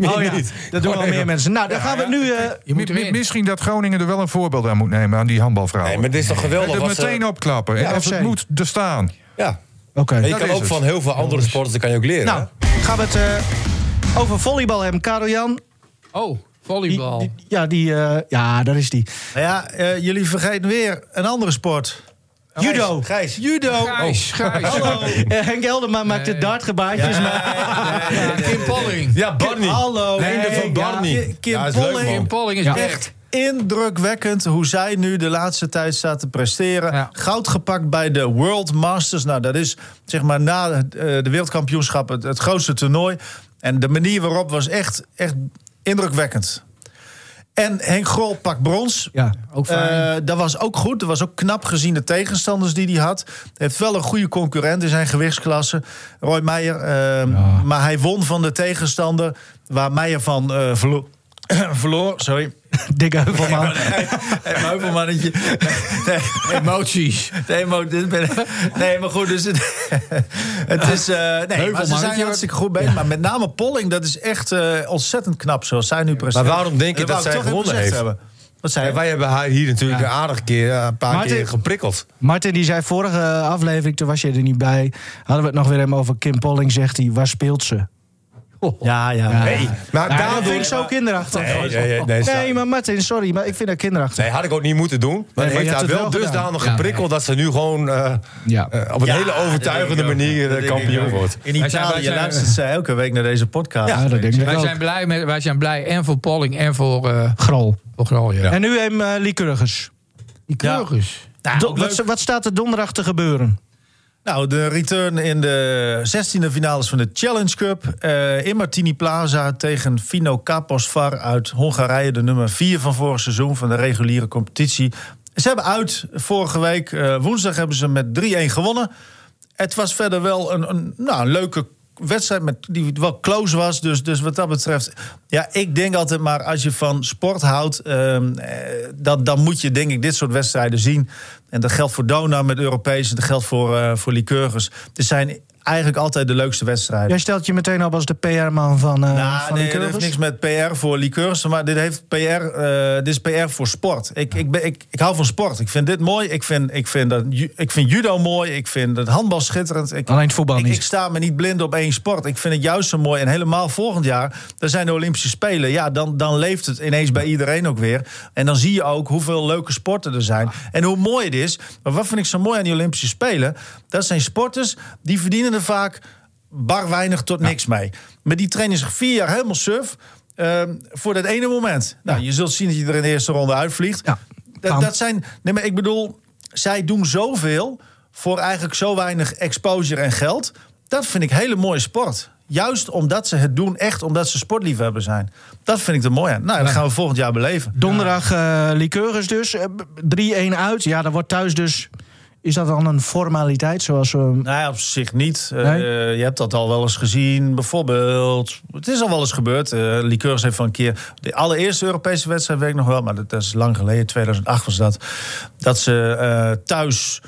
Meer Oh ja, niet. dat doen wel meer mensen. Nou, dan gaan we nu... eh, Je moet Mi- mi- erin. Misschien dat Groningen er wel een voorbeeld aan moet nemen aan die handbalvrouwen. Nee, maar dit eh, is toch geweldig? dat wat ze- meteen opklappen. En als FC. het moet, er staan. Ja. Oké. En je Dat kan is ook het. van heel veel andere sporten kan je ook leren. Nou, gaan we het eh, over volleybal hebben. Karel Jan. Oh, die- volleybal. die- ja, die, eh, ja, daar is die. Nou ja, eh, jullie vergeten weer een andere sport. Judo. Gijs. Judo. Oh, Gijs, Gijs. Hallo. Oh, Eh, Henk Elderman maakte Nee. dartgebaartjes. maar- Ja, Ah, Kim Polling. Ja, Barney. Hallo. Nee, de van ja. Barney. Ki- Kim Oh, Ja, is leuk, Polling. man. Kim Polling is echt. Echt indrukwekkend hoe zij nu de laatste tijd staat te presteren. Ja. Goud gepakt bij de World Masters. Nou, dat is zeg maar na eh, de wereldkampioenschap het, het grootste toernooi. En de manier waarop was echt, echt indrukwekkend. En Henk Grol pakt brons. Ja. Ook fijn. Eh, dat was ook goed. Dat was ook knap gezien de tegenstanders die hij had. Heeft wel een goede concurrent in zijn gewichtsklasse. Roy Meijer. eh, Maar hij won van de tegenstander waar Meijer van eh, verlo- verloor. Sorry. Dikke Heuvelman. Hey, Meuvelmannetje. Nee, Emoties. nee, maar, dit ben, nee, maar goed, dus het, het is... eh, nee, maar ze zijn Meuvelmannetje. hartstikke goed bezig. Maar met name Polling, dat is echt eh, ontzettend knap zoals zij nu presteert. Maar waarom denk je En dat wou zij ik toch even gewonnen gezegd heeft? hebben. Wat zei Ja, je? wij hebben haar hier natuurlijk een aardig keer, eh, een paar Martin. keer geprikkeld. Martin, die zei vorige aflevering, toen was je er niet bij. Hadden we het nog weer even over Kim Polling, zegt hij. Waar speelt ze? Ja, ja. Nee, maar Nou, dat daardoor... vind ik zo kinderachtig. Nee, nee, nee, nee, sta- Nee, maar Martin, sorry, maar ik vind dat kinderachtig. nee, had ik ook niet moeten doen. Maar maar heeft je haar had het wel wel gedaan. dusdanig Ja. geprikkeld... dat ze nu gewoon eh, Ja. eh, op een Ja, hele overtuigende dat denk ik ook. manier Dat eh, denk ik kampioen ook. wordt. In Wij zijn- wij Italië zijn- luistert zij elke week naar deze podcast. Ja, dat denk ik Wij ook. zijn, blij met, wij zijn blij en voor Polling en voor, eh Grol. voor Grol, ja. En nu hem eh Lycurgus. Die Keurigers. Do- wat, wat staat er donderdag te gebeuren? Nou, de return in de 16e finales van de Challenge Cup. eh, in Martini Plaza tegen Fino Kaposvar uit Hongarije. De nummer 4 van vorig seizoen van de reguliere competitie. Ze hebben uit vorige week, eh, woensdag, hebben ze met 3-1 gewonnen. Het was verder wel een, een, nou, een leuke wedstrijd met, die wel close was. Dus, dus wat dat betreft... Ja, ik denk altijd maar als je van sport houdt... ehm, eh, dat, dan moet je denk ik dit soort wedstrijden zien. En dat geldt voor Dona met Europees. En dat geldt voor, eh voor Lycurgus. Dit zijn eigenlijk altijd de leukste wedstrijden. Jij stelt je meteen op als de PR-man van, eh Nou, van nee, die dat heeft curvers. niks met PR voor liqueurs, maar dit, heeft PR, eh, dit is PR voor sport. Ik, ik, ben, ik, ik hou van sport. Ik vind dit mooi. Ik vind, ik vind, dat, ju- ik vind judo mooi. Ik vind het handbal schitterend. Ik, Alleen het voetbal ik, niet. Ik sta me niet blind op één sport. Ik vind het juist zo mooi. En helemaal volgend jaar, daar zijn de Olympische Spelen. Ja, dan, dan leeft het ineens bij iedereen ook weer. En dan zie je ook hoeveel leuke sporten er zijn. En hoe mooi het is. Maar wat vind ik zo mooi aan die Olympische Spelen? Dat zijn sporters die verdienen er vaak bar weinig tot niks mee. Maar die trainen zich vier jaar helemaal surf. ehm, voor dat ene moment. Nou, je zult zien dat je er in de eerste ronde uitvliegt. Ja. Dat, Bam. dat zijn. Nee, maar ik bedoel, zij doen zoveel voor eigenlijk zo weinig exposure en geld. Dat vind ik hele mooie sport. Juist omdat ze het doen, echt omdat ze sportliefhebber zijn. Dat vind ik er mooi aan. Nou, dat gaan we volgend jaar beleven. Donderdag eh Lycurgus dus. Eh, b- 3-1 uit. Ja, dan wordt thuis dus... Is dat dan een formaliteit zoals... eh, we? Nou ja, op zich niet. Eh, Nee? eh, je hebt dat al wel eens gezien. Bijvoorbeeld, het is al wel eens gebeurd. Eh Liqueurs heeft van een keer... De allereerste Europese wedstrijd weet ik nog wel... maar dat, dat is lang geleden, 2008 was dat. Dat ze eh, thuis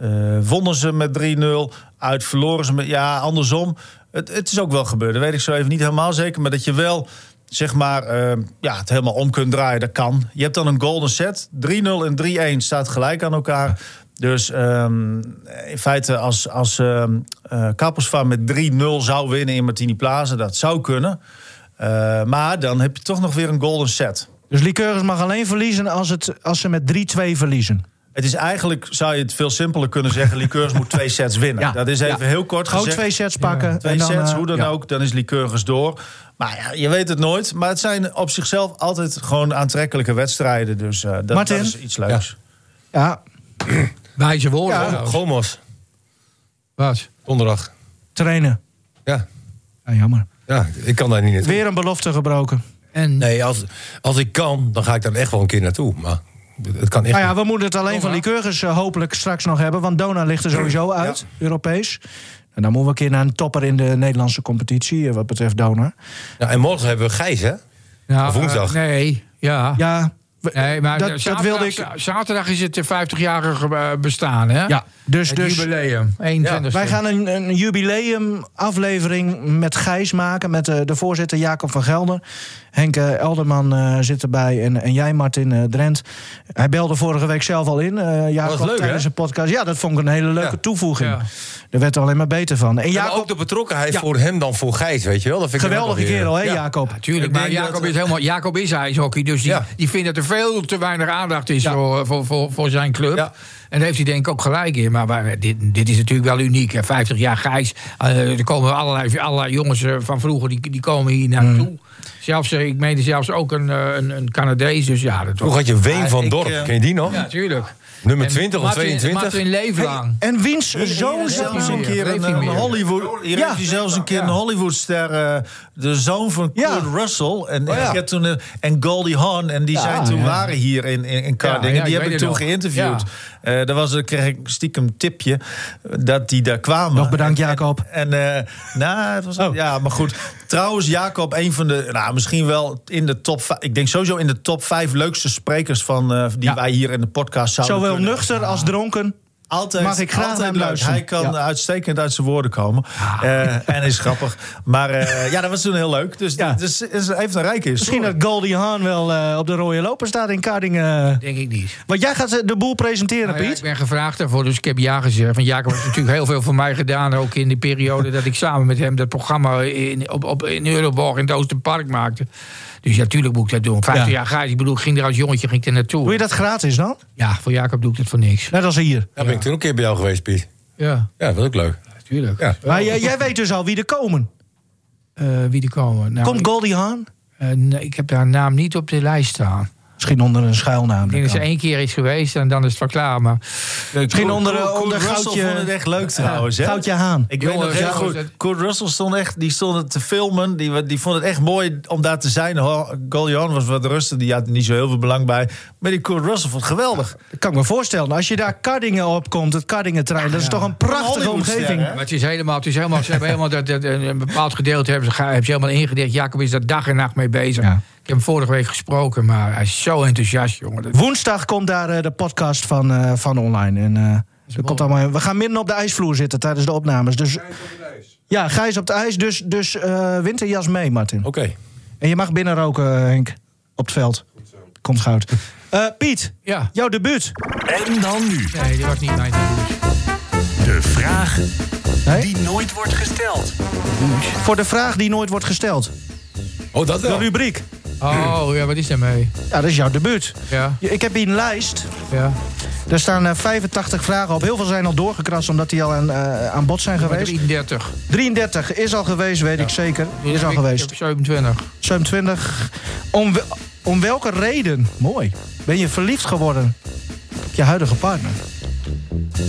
eh, wonnen ze met 3-0. Uit verloren ze met... Ja, andersom. Het, het is ook wel gebeurd. Dat weet ik zo even niet helemaal zeker. Maar dat je wel... Zeg maar, eh, ja, het helemaal om kunt draaien, dat kan. Je hebt dan een golden set. 3-0 en 3-1 staat gelijk aan elkaar. Dus ehm, in feite, als, als ehm eh, Kapersvaart met 3-0 zou winnen in Martini Plaza, dat zou kunnen. Eh, maar dan heb je toch nog weer een golden set. Dus Lycurgus mag alleen verliezen als, het, als ze met 3-2 verliezen. Het is eigenlijk, zou je het veel simpeler kunnen zeggen, Liqueurs moet twee sets winnen. Ja, Dat is even ja. heel kort Gewoon gezegd. twee sets pakken. Twee en dan, sets, eh, hoe dan ja. ook, dan is Liqueurs door. Maar ja, je weet het nooit. Maar het zijn op zichzelf altijd gewoon aantrekkelijke wedstrijden. Dus eh, dat, dat Martin? is iets leuks. Ja, Wijze woorden. trouwens. Gomos, Wat? donderdag. trainen. Ja. Ja, jammer. ja, ik kan daar niet naartoe. Weer een belofte gebroken. En Nee, als, als ik kan, dan ga ik daar echt wel een keer naartoe. Maar het kan echt Nou ja, niet. we moeten het alleen van Lycurgus eh, hopelijk straks nog hebben. Want Dona ligt er sowieso uit, Europees. En dan moeten we een keer naar een topper in de Nederlandse competitie, eh, wat betreft Dona. Ja, Nou, en morgen hebben we Gijs, hè? nou, Of woensdag. eh, nee, ja. Ja, we- Nee, maar dat, zaterdag, dat wilde ik. za- Zaterdag is het eh, 50-jarige eh, bestaan, hè? Ja, dus, Het dus jubileum, dus, 21 eh, wij gaan een, een jubileumaflevering met Gijs maken. Met eh, de voorzitter Jacob van Gelder. Henk eh, Elderman eh, zit erbij. En, en jij, Martin eh, Drent. Hij belde vorige week zelf al in. eh Jacob Oh, leuk, tijdens hè? een podcast. Ja, dat vond ik een hele leuke Ja. toevoeging. Ja. Daar werd er alleen maar beter van. En Ja, maar Jacob, ook de betrokkenheid Ja. voor hem dan voor Gijs, weet je wel? Dat vind ik dan geweldige ook wel weer- kerel, hè, Ja. Jacob? Tuurlijk, Ik maar denk Jacob, dat- is helemaal, Jacob is ijshockey, dus die, Ja. die vindt dat er veel te weinig aandacht is voor, eh, voor, voor, voor zijn club. Ja. En daar heeft hij denk ik ook gelijk in. Maar, waar- dit, dit is natuurlijk wel uniek. hè. 50 jaar Gijs, eh, er komen allerlei, allerlei jongens eh, van vroeger, die, die komen Mm. hier naartoe. Zelfs, eh, ik meende zelfs ook een, eh, een, een Canadees, dus ja, dat Vroeger had je Ween van ik, Dorp, eh, ken je die nog? Ja, tuurlijk. Nummer En 20 of Martin- 22? Martin Leeflang. En wiens zoon zoon is zit zelfs nou- een keer Leeft een, niet een meer. Hollywood. Hier Ja. heeft hij zelfs een keer een Hollywoodster. eh, de zoon van Ja. Kurt Russell. En, ja. ik heb toen, een- en Goldie Hawn. En die zijn toen waren hier in, in, in Carding. ja, en die ik heb ik weet toen het nog. geïnterviewd. Eh daar was, daar kreeg ik stiekem een tipje. eh, Dat die daar kwamen. Nog bedankt, Jacob. En eh, nou, het was. Oh. Ja, maar goed. Trouwens, Jacob, een van de. Nou, misschien wel in de top. vij- Ik denk sowieso in de top vijf leukste sprekers van. eh, die Ja. wij hier in de podcast zouden Zowel kunnen. nuchter als dronken. Altijd, Mag ik graag naar altijd hem leuk. luisteren. Hij kan Ja. Ah. uitstekend uit zijn woorden komen. Eh, en is grappig. Maar eh, ja, dat was toen heel leuk. Dus Ja. het dus, is- heeft een rijke Misschien dat historie. Goldie Haan wel eh, op de rode loper staat in Kardingen. Denk ik niet. Want jij gaat eh, de boel presenteren, Nou ja, Piet. ik ben gevraagd daarvoor, dus ik heb ja gezegd. Van Jacob heeft natuurlijk heel veel voor mij gedaan. Ook in de periode dat ik samen met hem dat programma in, op, op, in Euroborg in het Oosterpark maakte. Dus ja, tuurlijk moet ik dat doen. 50 Ja. jaar Gijs, ik bedoel, ik ging er als jongetje ging ik er naartoe. Doe je dat gratis dan? Ja, voor Jacob doe ik dat voor niks. Net als hier. Ja, ben ik toen ook een keer bij jou geweest, Piet. Ja, Ja, dat was ook leuk. tuurlijk. Ja. Maar jij, jij weet dus al wie er komen. Eh, wie er komen. Nou, Komt ik, Goldie Haan? eh, nee, ik heb haar naam niet op de lijst staan. Misschien onder een schuilnaam. Ik denk dat ze één keer is geweest en dan is het wel klaar. Maar Misschien onder, eh, Kurt onder Russell vond het goudje, echt leuk trouwens. hè? goudje Haan. Ik Jongens, weet nog heel ja, goed. dat- Kurt Russell stond echt, die stond het te filmen. Die, wa- die vond het echt mooi om daar te zijn. Ho- Golion was wat rustig, die had er niet zo heel veel belang bij. Maar die Kurt Russell vond het geweldig. Dat kan ik me voorstellen. Als je daar Kardingen opkomt, het Kardingenterrein, dat is toch een prachtige Hollywoodster, omgeving. hè? Maar het is helemaal, het is helemaal, ze hebben helemaal dat, dat- een bepaald gedeelte hebben ze, ge- hebben ze helemaal ingedicht. Jacob is daar dag en nacht mee bezig. Ja. Ik heb hem vorige week gesproken, maar hij is zo enthousiast, jongen. Dat- Woensdag komt daar eh, de podcast van, eh, van online. En, eh, dat komt allemaal, we gaan midden op de ijsvloer zitten tijdens de opnames. Dus, ja, Gijs op het ijs. Dus, dus eh, winterjas mee, Martin. Oké. En je mag binnen roken, eh, Henk. Op het veld. Komt goud. Eh, Piet, Ja, jouw debuut. En dan nu nee, dat was niet mijn doel. de vraag Nee? die nooit wordt gesteld. Voor de vraag die nooit wordt gesteld. Oh, dat De wel. rubriek. Oh, ja, wat is daarmee? Ja, dat is jouw debuut. Ja, Je- Ik heb hier een lijst. ja. Daar staan eh, 85 vragen op. Heel veel zijn al doorgekrast omdat die al aan, eh, aan bod zijn Maar geweest. 33. 33 is al geweest, weet ik zeker. Die Is heb al ik- geweest. heb 27. 27. Om, we- om welke reden, mooi, ben je verliefd geworden op je huidige partner?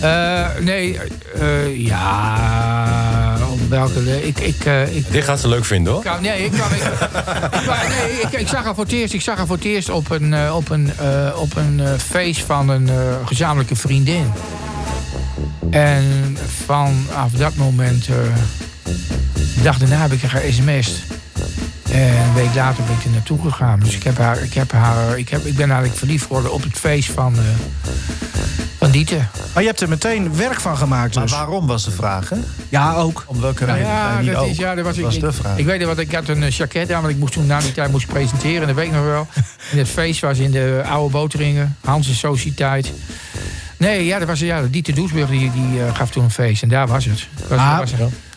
Eh, nee, eh, ja. Om welke. le- Ik, ik, eh, ik, Dit gaat ze leuk vinden hoor. Ik kwam- nee, ik, kwam, ik, ik kwam- nee ik, ik zag haar voor het eerst. Ik zag haar voor het eerst op een, eh, op een, eh, op een eh, feest van een eh, gezamenlijke vriendin. En vanaf dat moment, eh, de dag daarna heb ik haar sms'd. En een week later ben ik er naartoe gegaan. Dus ik, heb haar, ik, heb haar, ik, heb, ik ben eigenlijk verliefd geworden op het feest van, eh van Dieter. Maar Oh, je hebt er meteen werk van gemaakt Maar dus. waarom was de vraag, hè? Ja, ook. Om welke reden? Ja, Nee, niet dat ook. is, ja, dat was, ik- was ik, de vraag. Ik weet het, want ik had een eh, jacket aan, want ik moest toen na die tijd moest ik presenteren, dat weet ik nog wel. En het feest was in de Oude Boteringen, Hans en Sociëteit. Nee, ja, dat was ja, Dieter Doesburg die, die eh, gaf toen een feest en daar was het. Was, Ah. was,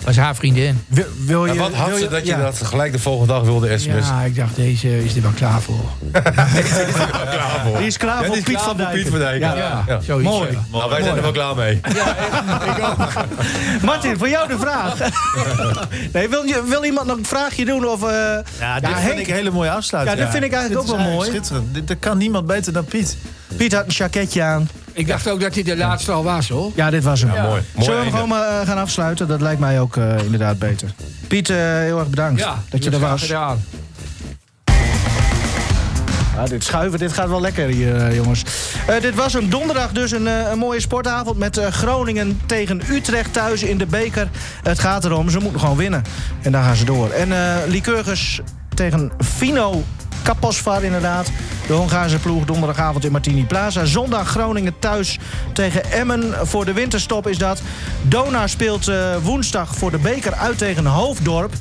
was haar vriendin. Wil, wil je, En wat had wil ze dat je ja. dat gelijk de volgende dag wilde sms? Ja, ik dacht, deze is er wel klaar voor. Klaar voor. Die is klaar voor Ja, die is Piet klaar van voor Dijk. Piet van Dijk. Ja. Ja, Ja. zoiets. Mooi. ja. Nou, wij zijn er wel klaar mee. Martin, voor jou de vraag. nee, wil, je- wil iemand nog een vraagje doen? Of, eh, Ja, dit vind Henk- ik een hele mooie afsluiting. Ja, dit vind ik eigenlijk Dit ook is wel eigenlijk Schitterend. Dit, dat kan niemand beter dan Piet. Piet had een jacketje aan. Ik dacht ook dat dit de laatste al was, hoor. Ja, dit was hem. Ja, mooi. Mooi Zullen we hem einde. gewoon maar eh, gaan afsluiten? Dat lijkt mij ook eh, inderdaad beter. Piet, eh, heel erg bedankt dat je er graag was. gedaan. Ja, dit schuiven, dit gaat wel lekker hier, eh, jongens. Eh, dit was een donderdag dus een, eh, een mooie sportavond... met eh, Groningen tegen Utrecht thuis in de beker. Het gaat erom, ze moeten gewoon winnen. En daar gaan ze door. En eh Lycurgus tegen Fino Kaposvar inderdaad. De Hongaarse ploeg donderdagavond in Martini Plaza. Zondag Groningen thuis tegen Emmen. Voor de winterstop is dat. Dona speelt eh, woensdag voor de beker uit tegen Hoofddorp.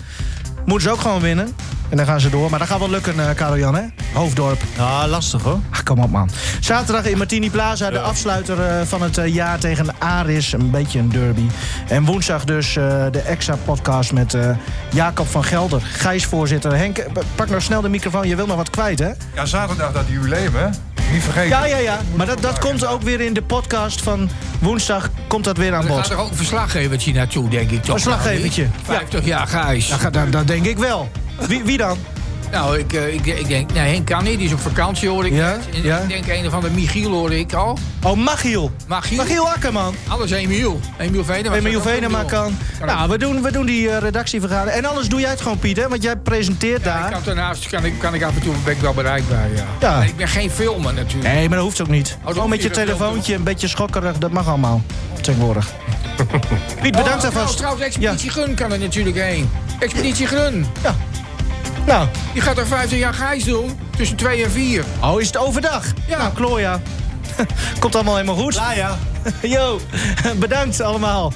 Moeten ze ook gewoon winnen. En dan gaan ze door. Maar dat gaat wel lukken, eh Karel-Jan, hè? Hoofddorp. Ah, lastig hoor. Ach, kom op, man. Zaterdag in Martini Plaza, de afsluiter eh, van het eh, jaar tegen Aris. Een beetje een derby. En woensdag dus eh, de extra podcast met eh, Jacob van Gelder, Gijs-voorzitter. Henk, eh, pak nou snel de microfoon. Je wil nog wat kwijt, hè? Ja, zaterdag dat jubileum, hè? Niet vergeten. Ja, ja, ja. Maar dat, dat komt ook weer in de podcast van woensdag. Komt dat weer aan Er gaat bod? er ook een verslaggevertje naartoe, denk ik toch? Verslaggevertje, ja. 50 jaar Gijs. Ja, ga- dat, dat denk ik wel. Wie, wie dan? Nou, ik, eh, ik, ik denk, nee, Henk kan niet. Die is op vakantie, hoor ik. Ja, net. En ja. Ik denk een of andere Michiel, hoorde ik al. Oh, Machiel. Magiel. Machiel Akkerman. Alles Emiel. Emiel Venema. Emiel zou dat ook Venema doen. kan. Nou, we doen, we doen die eh, redactievergadering. En anders doe jij het gewoon, Piet, hè? Want jij presenteert Ik daar. kan daarnaast kan ik, kan ik af en toe ben ik wel bereikbaar, ja. Ja. En ik ben geen filmer natuurlijk. Nee, maar dat hoeft ook niet. Oh, dat Gewoon met je hoeft niet, dat telefoontje, een beetje schokkerig, dat mag allemaal. Tegenwoordig. Piet, bedankt Oh, daarvan. trouwens, Trouwens, Expeditie Gun kan er natuurlijk heen. Expeditie Gun. Nou, Die gaat er 50 jaar Gijs doen. Tussen 2 en 4. oh, is het overdag? Ja. Nou, Kloja. Komt allemaal helemaal goed. Klaar ja. Yo, bedankt allemaal.